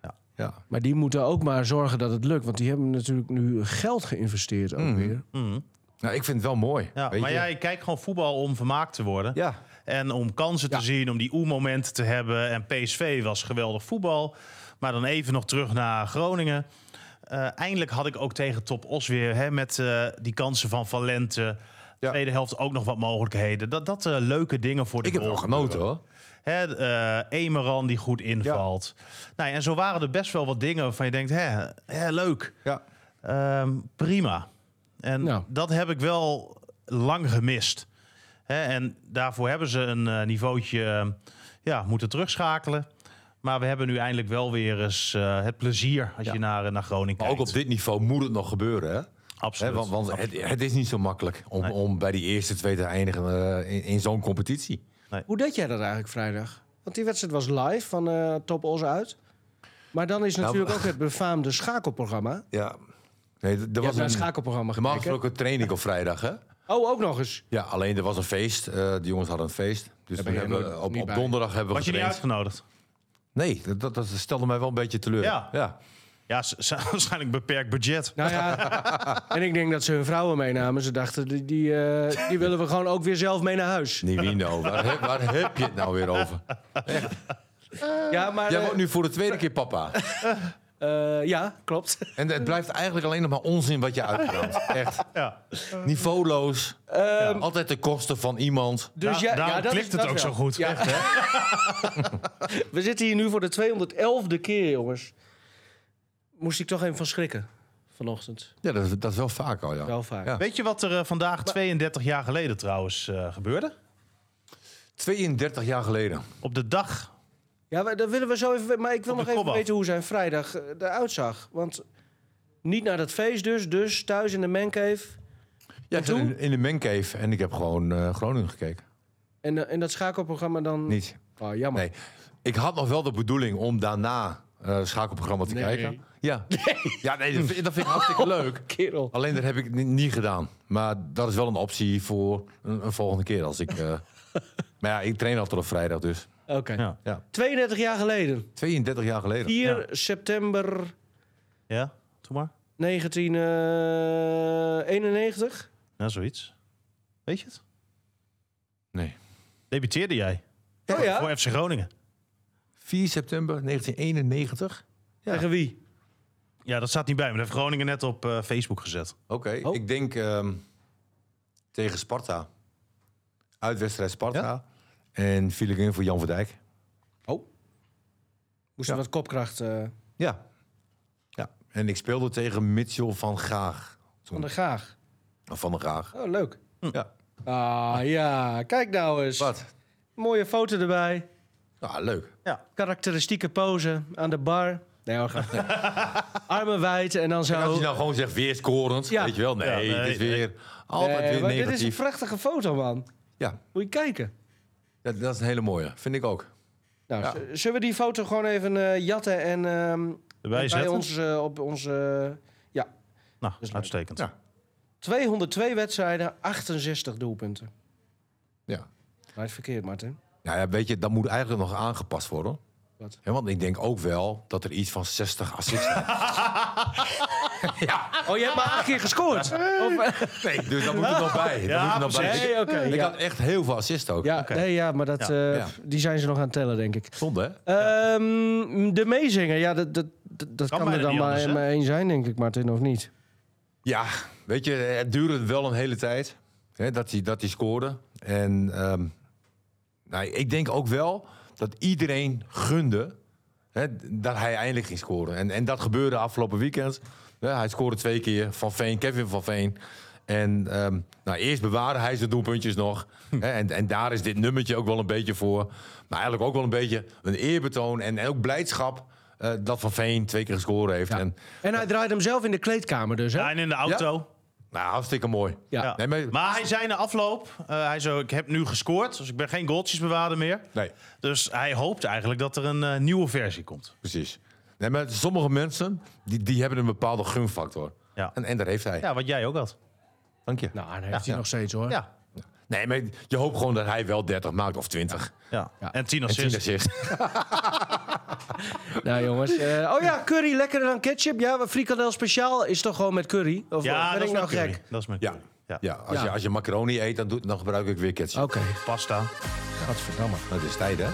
Ja. ja. Maar die moeten ook maar zorgen dat het lukt. Want die hebben natuurlijk nu geld geïnvesteerd ook Mhm. weer. Nou, ik vind het wel mooi. Ja, weet maar je? jij kijkt gewoon voetbal om vermaakt te worden. Ja. En om kansen te zien, om die oermomenten te hebben. En PSV was geweldig voetbal. Maar dan even nog terug naar Groningen. Eh, eindelijk had ik ook tegen Top Os weer hè, met eh, die kansen van Valente. Ja. Tweede helft ook nog wat mogelijkheden. Dat, dat eh, leuke dingen voor de Ik heb goal wel genoten, gebeuren. hoor. Hè, eh, Emeran die goed invalt. Nou, ja, en zo waren er best wel wat dingen waarvan je denkt, hè, hè leuk. Ja. Ehm, prima. En Nou. dat heb ik wel lang gemist. Hè, en daarvoor hebben ze een eh, niveautje eh, ja, moeten terugschakelen. Maar we hebben nu eindelijk wel weer eens eh, het plezier als je naar, eh, naar Groningen Maar ook kijkt. op dit niveau moet het nog gebeuren, hè? Hè, Absoluut. want want het, het is niet zo makkelijk om, om bij die eerste twee te eindigen eh, in, in zo'n competitie. Hoe deed jij dat eigenlijk vrijdag? Want die wedstrijd was live van eh Top Os uit. Maar dan is natuurlijk maar- ook het befaamde schakelprogramma. Ja. Nee, d- er Je hebt was naar een, het schakelprogramma normaal gekeken. gesproken training op vrijdag, hè? Oh, ook nog eens. Ja, alleen er was een feest. eh de jongens hadden een feest. Daar ben Dus toen jij hebben we nooit- op, niet op bij. donderdag hebben we Was je niet getraind. uitgenodigd? Nee, dat, dat, dat stelde mij wel een beetje teleur. Ja. ja. Ja, ze- ze- waarschijnlijk beperkt budget. Nou ja, en ik denk dat ze hun vrouwen meenamen. Ze dachten, die, die, eh, die willen we gewoon ook weer zelf mee naar huis. Nivino, nou? waar, heb- waar heb je het nou weer over? Ja, maar, Jij eh, wordt nu voor de tweede keer papa. Eh, ja, klopt. En het blijft eigenlijk alleen nog maar onzin wat je uitkraamt. Echt. Ja. Niveauloos. Ehm, Altijd de kosten van iemand. Dus Da- daarom klikt het ook wel. zo goed. Ja. We zitten hier nu voor de 211e keer, jongens. Moest ik toch even van schrikken vanochtend. Ja, dat, is- dat is wel vaak al, ja. Wel vaak. Ja. Weet je wat er eh, vandaag 32 jaar geleden trouwens eh, gebeurde? 32 jaar geleden. Op de dag. Ja, maar dat willen we zo even. weten, Maar ik wil Op de nog even kopbal. weten hoe zijn vrijdag eh, eruit zag. Want niet naar dat feest dus, dus thuis in de mancave. Ja, ik zat toen? in, in de mancave en ik heb gewoon eh, Groningen gekeken. En, eh, en dat schakelprogramma dan... Niet. Oh, jammer. Nee. Ik had nog wel de bedoeling om daarna eh schakelprogramma te kijken. Ja, ja nee, dat, vind, dat vind ik hartstikke leuk. Kerel. Alleen dat heb ik ni- niet gedaan. Maar dat is wel een optie voor een, een volgende keer als ik... eh, maar ja, ik train altijd op vrijdag dus. Oké. Ja. Ja. 32 jaar geleden. 32 jaar geleden. 4 september Ja, doe maar. eh, 1991. Ja, zoiets. Weet je het? Nee. Debuteerde jij Oh ja? voor FC Groningen. 4 september 1991. Ja. Tegen wie? Ja, dat staat niet bij, maar dat heeft Groningen net op eh, Facebook gezet. Oké, Oh. ik denk ehm, tegen Sparta. Uitwedstrijd Sparta. En viel ik in voor Jan van Dijk. Moest er wat kopkracht... eh, Ja. ja. En ik speelde tegen Mitchell van Graag. Van de Graag. Van der Graag. Oh, leuk. Ja. Ah, ja. Kijk nou eens. Wat? Mooie foto erbij. Nou, leuk. Karakteristieke pose aan de bar. Nee, hoor, grapje. Armen wijd en dan zo... En als je nou gewoon zegt weer scorend, Ja. weet je wel? Nee, Ja, nee, het is nee. weer altijd Nee, weer maar dit is een negatief. prachtige foto, man. Ja, Moet je kijken. dat, dat is een hele mooie. Vind ik ook. Nou, Ja. z- zullen we die foto gewoon even eh, jatten en ehm, Erbij bij zetten. ons eh, op onze... ja, Nou, leuk. uitstekend. Ja. 202 wedstrijden, 68 doelpunten. Ja. Maar het verkeerd, Martin. Nou ja, weet je, dat moet eigenlijk nog aangepast worden. Wat? Ja, want ik denk ook wel dat er iets van 60 assists zijn. Oh, je hebt maar acht keer gescoord. Nee, dus dat moet er nog bij. Dat Ja, moet er nog bij. precies. Nee, oké. Ik ja. had echt heel veel assist ook. Ja, Oké. nee, ja, maar dat, eh, Ja. die zijn ze nog aan het tellen, denk ik. Zonde, hè? Ehm, de meezinger, ja, dat, dat, dat, dat Kan kan, er bijna dan niet maar, anders, hè? maar één zijn, denk ik, Martin, of niet? Ja, weet je, het duurde wel een hele tijd hè, dat, hij, dat hij scoorde. En ehm, nou, ik denk ook wel dat iedereen gunde hè, dat hij eindelijk ging scoren. En, en dat gebeurde afgelopen weekend. Ja, hij scoorde twee keer van Veen, Kevin van Veen. En ehm, nou, eerst bewaarde hij zijn doelpuntjes nog. hè, en, en daar is dit nummertje ook wel een beetje voor. Maar eigenlijk ook wel een beetje een eerbetoon en, en ook blijdschap eh, dat Van Veen twee keer gescoord heeft. En, En hij draait hem zelf in de kleedkamer dus, hè? Ja, en in de auto. nou, hartstikke mooi. Ja. Ja. Nee, maar- maar hij zei na afloop, eh, hij zo, ik heb nu gescoord, dus ik ben geen goaltjes bewaarder meer. Nee. Dus hij hoopt eigenlijk dat er een eh, nieuwe versie komt. Precies. Nee, maar sommige mensen die, die hebben een bepaalde gunfactor. Ja. En, en dat heeft hij. Ja, wat jij ook had. Dank je. Nou, dat heeft hij nog steeds, hoor. Ja. Nee, maar je hoopt gewoon dat hij wel 30 maakt of 20. Ja. Ja. En tien En 10 assists. assists. Nou, jongens. eh, oh ja, curry lekkerder dan ketchup. Ja, maar frikandel speciaal is toch gewoon met curry? Of Ja, ben dat ik is nou mijn gek? curry. Dat is mijn Ja. curry. Ja. Ja. als, Ja. Je, als je macaroni eet, dan, doe, dan gebruik ik weer ketchup. Oké, Pasta. godverdamme. Dat is tijd, hè?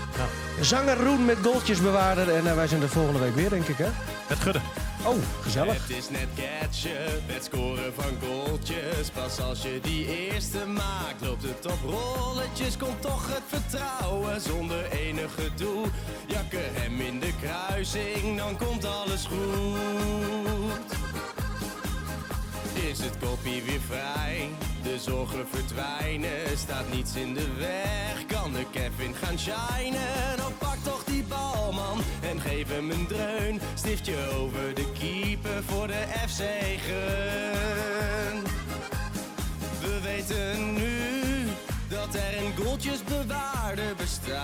Zanger Roen met goaltjesbewaarder. En eh, wij zijn er volgende week weer, denk ik, hè? Met Gudde. Oh, gezellig. Het is net catchen, het scoren van goaltjes. Pas als je die eerste maakt, loopt het op rolletjes. Komt toch het vertrouwen zonder enig gedoe. Jakken hem in de kruising, dan komt alles goed. Is het kopje weer vrij? De zorgen verdwijnen, staat niets in de weg. Kan de Kevin gaan shinen? Dan pak toch die bal, man, en geef hem een dreun. Stiftje over de keeper voor de FC Geun. We weten nu dat er een goaltjesbewaarder bestaat.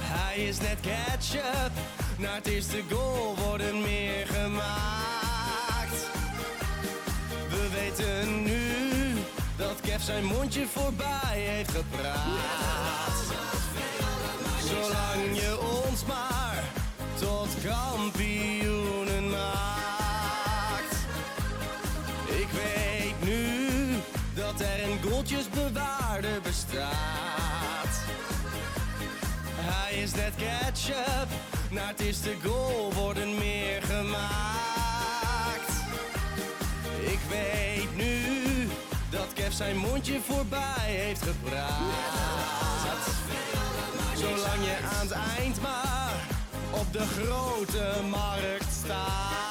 Hij is net ketchup, na het eerste goal worden meer gemaakt. We weten nu dat Kev zijn mondje voorbij heeft gepraat. Zolang je ons maar tot kampioenen maakt. Ik weet nu dat er een goaltjesbewaarder bestaat. Hij is net catch Bishop. Na het eerste goal worden meer gemaakt. Ik weet nu dat Kev zijn mondje voorbij heeft gepraat. Zolang je aan het eind maar op de grote markt staat.